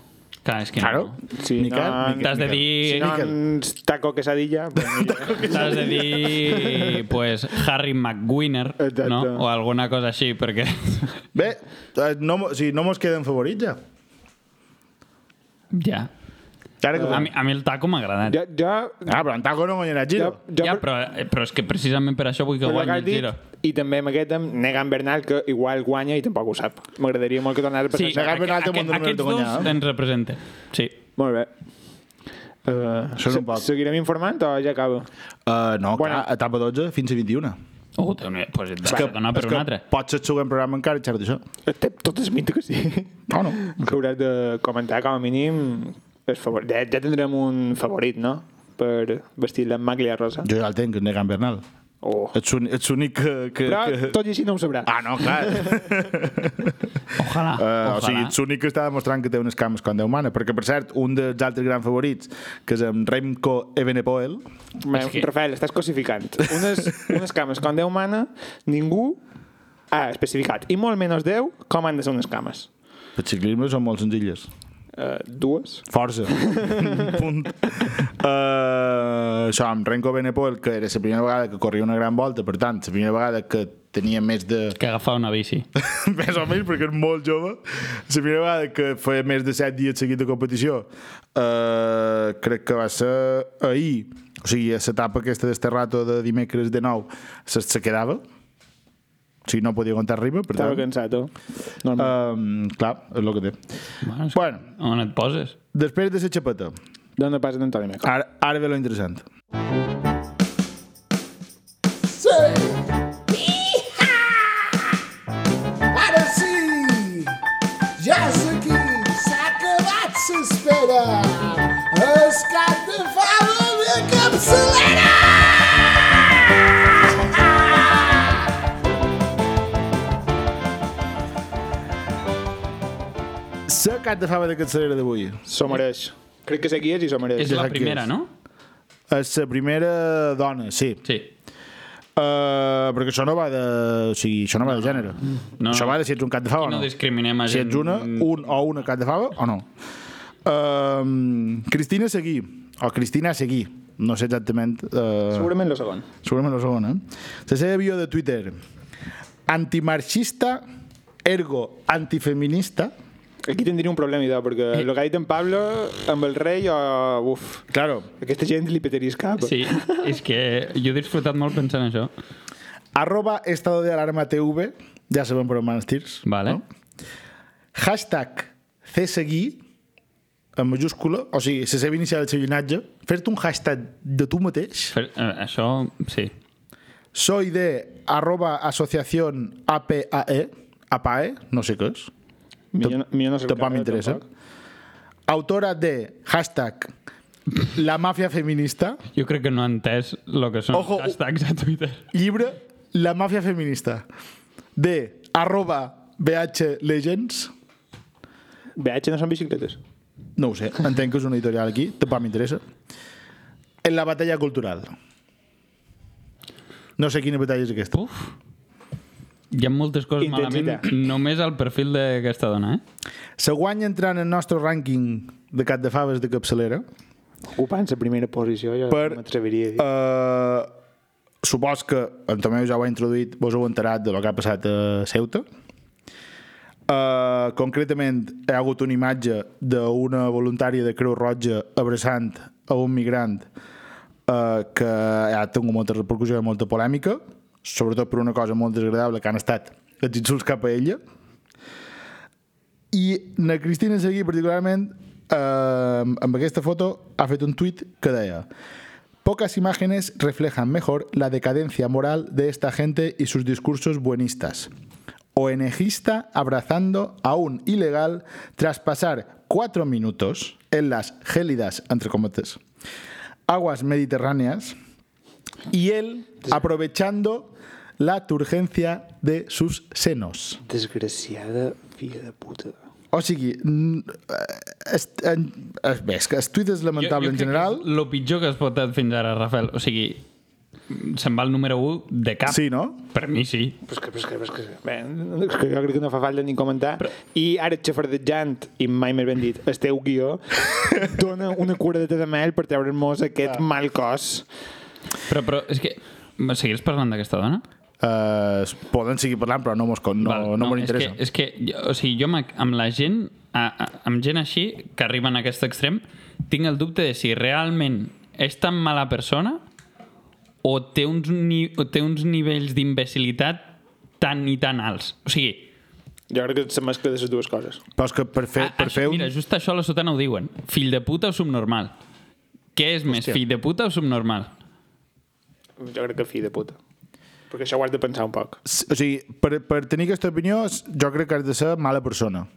Clar, és que Claro. no. Si Miquel, no, Miquel. T'has de dir... Si no, en taco quesadilla... Pues doncs mira. T'has de dir, pues, Harry McWinner, Exacte. no? O alguna cosa així, perquè... Bé, eh, no, mo- o sigui, no mos queden favorits, ja. ja. Ara que... A mi, a mi el taco m'ha agradat. jo, jo, Ah, però en Taco no guanyarà jo, Giro. jo, Ja, però, eh, però és que precisament per això vull que per lo que guanyi has el dit, giro. I també amb aquest, amb Negan Bernal, que igual guanya i tampoc ho sap. M'agradaria molt que tornés a passar Sí, sí. Negar aqu- penalti aqu- amb un número de aquests guanyar, dos eh? ens representen. Sí. Molt bé. Uh, Sona un poc. Seguirem informant o ja acaba? Uh, no, Bueno. clar, etapa 12 fins a 21. Oh, Déu meu, pues et vas donar per és un altre. pot ser el següent programa encara i xerrar d'això. Té tot es minta que sí. No, no. Que hauràs de comentar com a mínim el favor. Ja, ja tindrem un favorit, no? Per vestir la màglia rosa. Jo ja el tenc, el Negan Bernal. Oh. Ets un- ets l'únic que... que, Però que... tot i així no ho sabrà. Ah, no, clar. Ojalà, Uh, Ah, ojalà. o sigui, ets l'únic que està demostrant que té unes cames quan Déu mana. Perquè, per cert, un dels altres grans favorits, que és en Remco Ebenepoel, Me, És que... que- Rafael, estàs cosificant. Unes, unes cames com Déu mana, ningú ha especificat. I molt menys Déu, com han de ser unes cames. els ciclismes són molt senzilles. Uh, dues? Força. Punt. Uh, això, amb Renko Benepol, que era la primera vegada que corria una gran volta, per tant, la primera vegada que tenia més de... Que agafar una bici. més o menys, perquè és molt jove. La primera vegada que feia més de 7 dies seguit de competició, uh, crec que va ser ahir, o sigui, a l'etapa aquesta d'Esterrato de dimecres de nou, se, se quedava. O sigui, no podia aguantar arriba, per Estava tant... cansat, oh? Normal. Um, clar, és el que té. Bueno, és... Bueno, On et poses? després de la xapeta, Uh, D'on passa d'Antoni Meco? ara, ara ve lo interessant. Ara sí! Ja és aquí! S'ha acabat s'espera! Es cap de fava de capçalera! Sé que et fava de capçalera d'avui. S'ho mereix. Crec que sé qui és i s'ho mereix. És la sap qui primera, és. no? És la primera dona, sí. Sí. Uh, perquè això no va de... O sigui, això no va de gènere. No. Això va de si ets un cat de fava No o no. discriminem a Si gent... ets una, un o una cat de fava o no. Um, Cristina Seguí, o Cristina Seguí, no sé exactament... eh, Segurament el segon. Segurament la segona. eh? La seva bio de Twitter. Antimarxista, ergo antifeminista. Aquí tindria un problema, idò, perquè el que ha dit en Pablo, amb el rei, o... Uf, Claro. aquesta gent li petaria el cap. Sí, és que jo he disfrutat molt pensant això. Arroba estado de alarma TV. Ja sabem per on van els tirs. Vale. Hashtag CSGui, en majúscula, o sigui, se seva inicial del seu llinatge, fer-te un hashtag de tu mateix, Fer, eh, això, sí. soy de arroba asociación APAE, APAE, E, no sé què és, Millor, millor no cercar-ho, tampoc m'interessa. tampoc. Autora de hashtag La màfia feminista, Jo crec que no he entès el que són Ojo, Ojo, hashtags a Twitter. llibre La màfia feminista, de arroba BH Legends, Viatge no són bicicletes. no ho sé, entenc que és una editorial aquí, tampoc m'interessa, en la batalla cultural. No sé quina batalla és aquesta. Uf. Hi ha moltes coses Intensitat. malament només al perfil d'aquesta dona, eh? Se guanya entrant en el nostre rànquing de cap de faves de capçalera Opa, en la primera posició, jo per... no m'atreviria a dir. eh, supos que en Tomeu ja ho ha introduït, vos heu enterat de lo que ha passat a Ceuta. Uh, concretament, hi ha hagut una imatge d'una voluntària de Creu Roja abraçant a un migrant uh, que ha tingut molta repercussió i molta polèmica, sobretot per una cosa molt desagradable que han estat els insults cap a ella. I na Cristina Seguí, particularment, eh, amb aquesta foto, ha fet un tuit que deia Pocas imágenes reflejan mejor la decadencia moral de esta gente y sus discursos buenistas. ONGista abrazando a un ilegal tras pasar cuatro minutos en las gélidas, entre cometes, aguas mediterráneas y él aprovechando la turgencia de sus senos. Desgraciada filla de puta. O sigui, mm, eh, est- en- eh, bé, és que el tuit és lamentable en general. El pitjor que has portat fins ara, Rafael. O sigui, se'n va el número 1 de cap. Sí, no? Per mi sí. Però és que, però és que, però és que, bé, és que jo crec que no fa falta ni comentar. Però... I ara xafardejant, i mai més ben dit, el teu guió, dona una curadeta de mel per treure'ns aquest mal cos. Però, però és que... Seguiràs parlant d'aquesta dona? Eh, es poden seguir parlant, però no mos, con- no, Val, no, no és que, m'interessa. és que jo, o sigui, jo amb, amb la gent, a, a, amb gent així, que arriben a aquest extrem, tinc el dubte de si realment és tan mala persona o té uns, ni, o té uns nivells d'imbecilitat tan i tan alts. O sigui, Jo crec que és la mescla de les dues coses. Però és que per fer, a, per això, fer un... Ah, mira, just això a la sotana ho diuen. Fill de puta o subnormal? Què és més, fill de puta o subnormal? Jo crec que filla de puta. Perquè això ho has de pensar un poc. s- O sigui, per, per tenir aquesta opinió, s- jo crec que has de ser mala persona.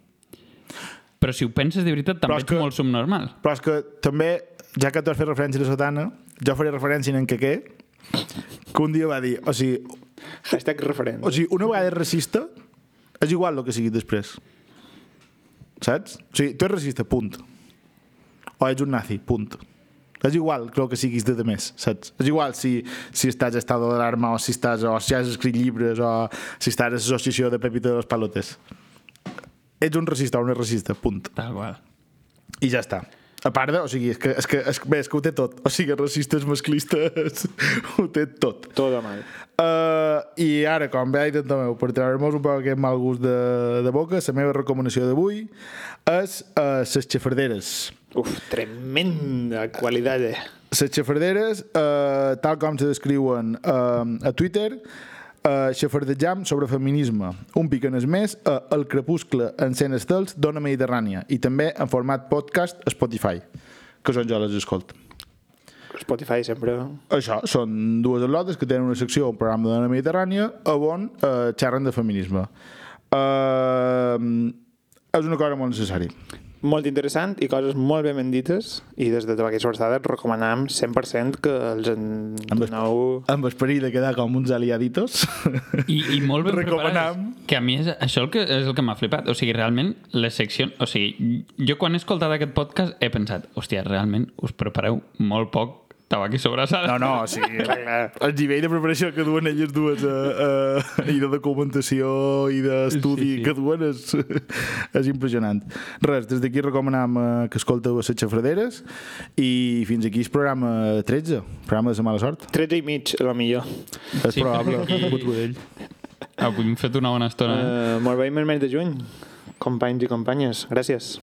Però si ho penses de veritat, Però també és ets que- molt subnormal. Però és que també, ja que tu has fet referència a la sotana, jo faré referència en en Quequé, que un dia va dir, o sigui, Hashtag referent. o sigui una vegada és racista, és igual el que sigui després. Saps? O sigui, tu ets racista, punt. O ets un nazi, punt. És igual crec que siguis de, de més, saps? És igual si, si estàs a estado d'alarma o si estàs o si has escrit llibres o si estàs a l'associació de Pepito de los Palotes. Ets un racista o un racista, punt. Tal qual. I ja està. A part de, o sigui, és que, és que, és, bé, és que ho té tot. O sigui, racistes, masclistes, ho té tot. Todo mal. Uh, I ara, com bé ha dit en Tomeu, per treure'ns un poc aquest mal gust de, de boca, la meva recomanació d'avui és uh, les xafarderes. Uf, tremenda qualitat. Eh? Les xafarderes, uh, tal com se descriuen uh, a Twitter, uh, xafardejam sobre feminisme. Un pic en es més a El crepuscle encén estels d'Ona Mediterrània i també en format podcast a Spotify, que són jo les escolto. Spotify sempre... Això, són dues atlotes que tenen una secció, un programa de dona mediterrània, a on eh, xerren de feminisme. Eh, és una cosa molt necessària. molt interessant i coses molt ben bendites i des de tota aquesta versada recomanam 100% que els en doneu... Amb el perill de quedar com uns aliaditos. I, i molt ben preparades. Recomanam. Que a mi és, això el que, és el que m'ha flipat. O sigui, realment, les seccions... O sigui, jo quan he escoltat aquest podcast he pensat, hòstia, realment us prepareu molt poc tabac i sobrassada. No, no, sí, clar, clar. El nivell de preparació que duen elles dues eh, eh, i de documentació i Sí, d'estudi sí. sí, sí. que duen és, és impressionant. Res, des d'aquí recomanam eh, que escolteu a les xafraderes i fins aquí el programa 13, programa de la mala sort. 13 i mig, a la millor. És Sí, sí, probable. perquè aquí- Aquí... Avui hem fet una bona estona. Eh? Uh, molt bé, i més mes de juny. Companys i companyes, gràcies.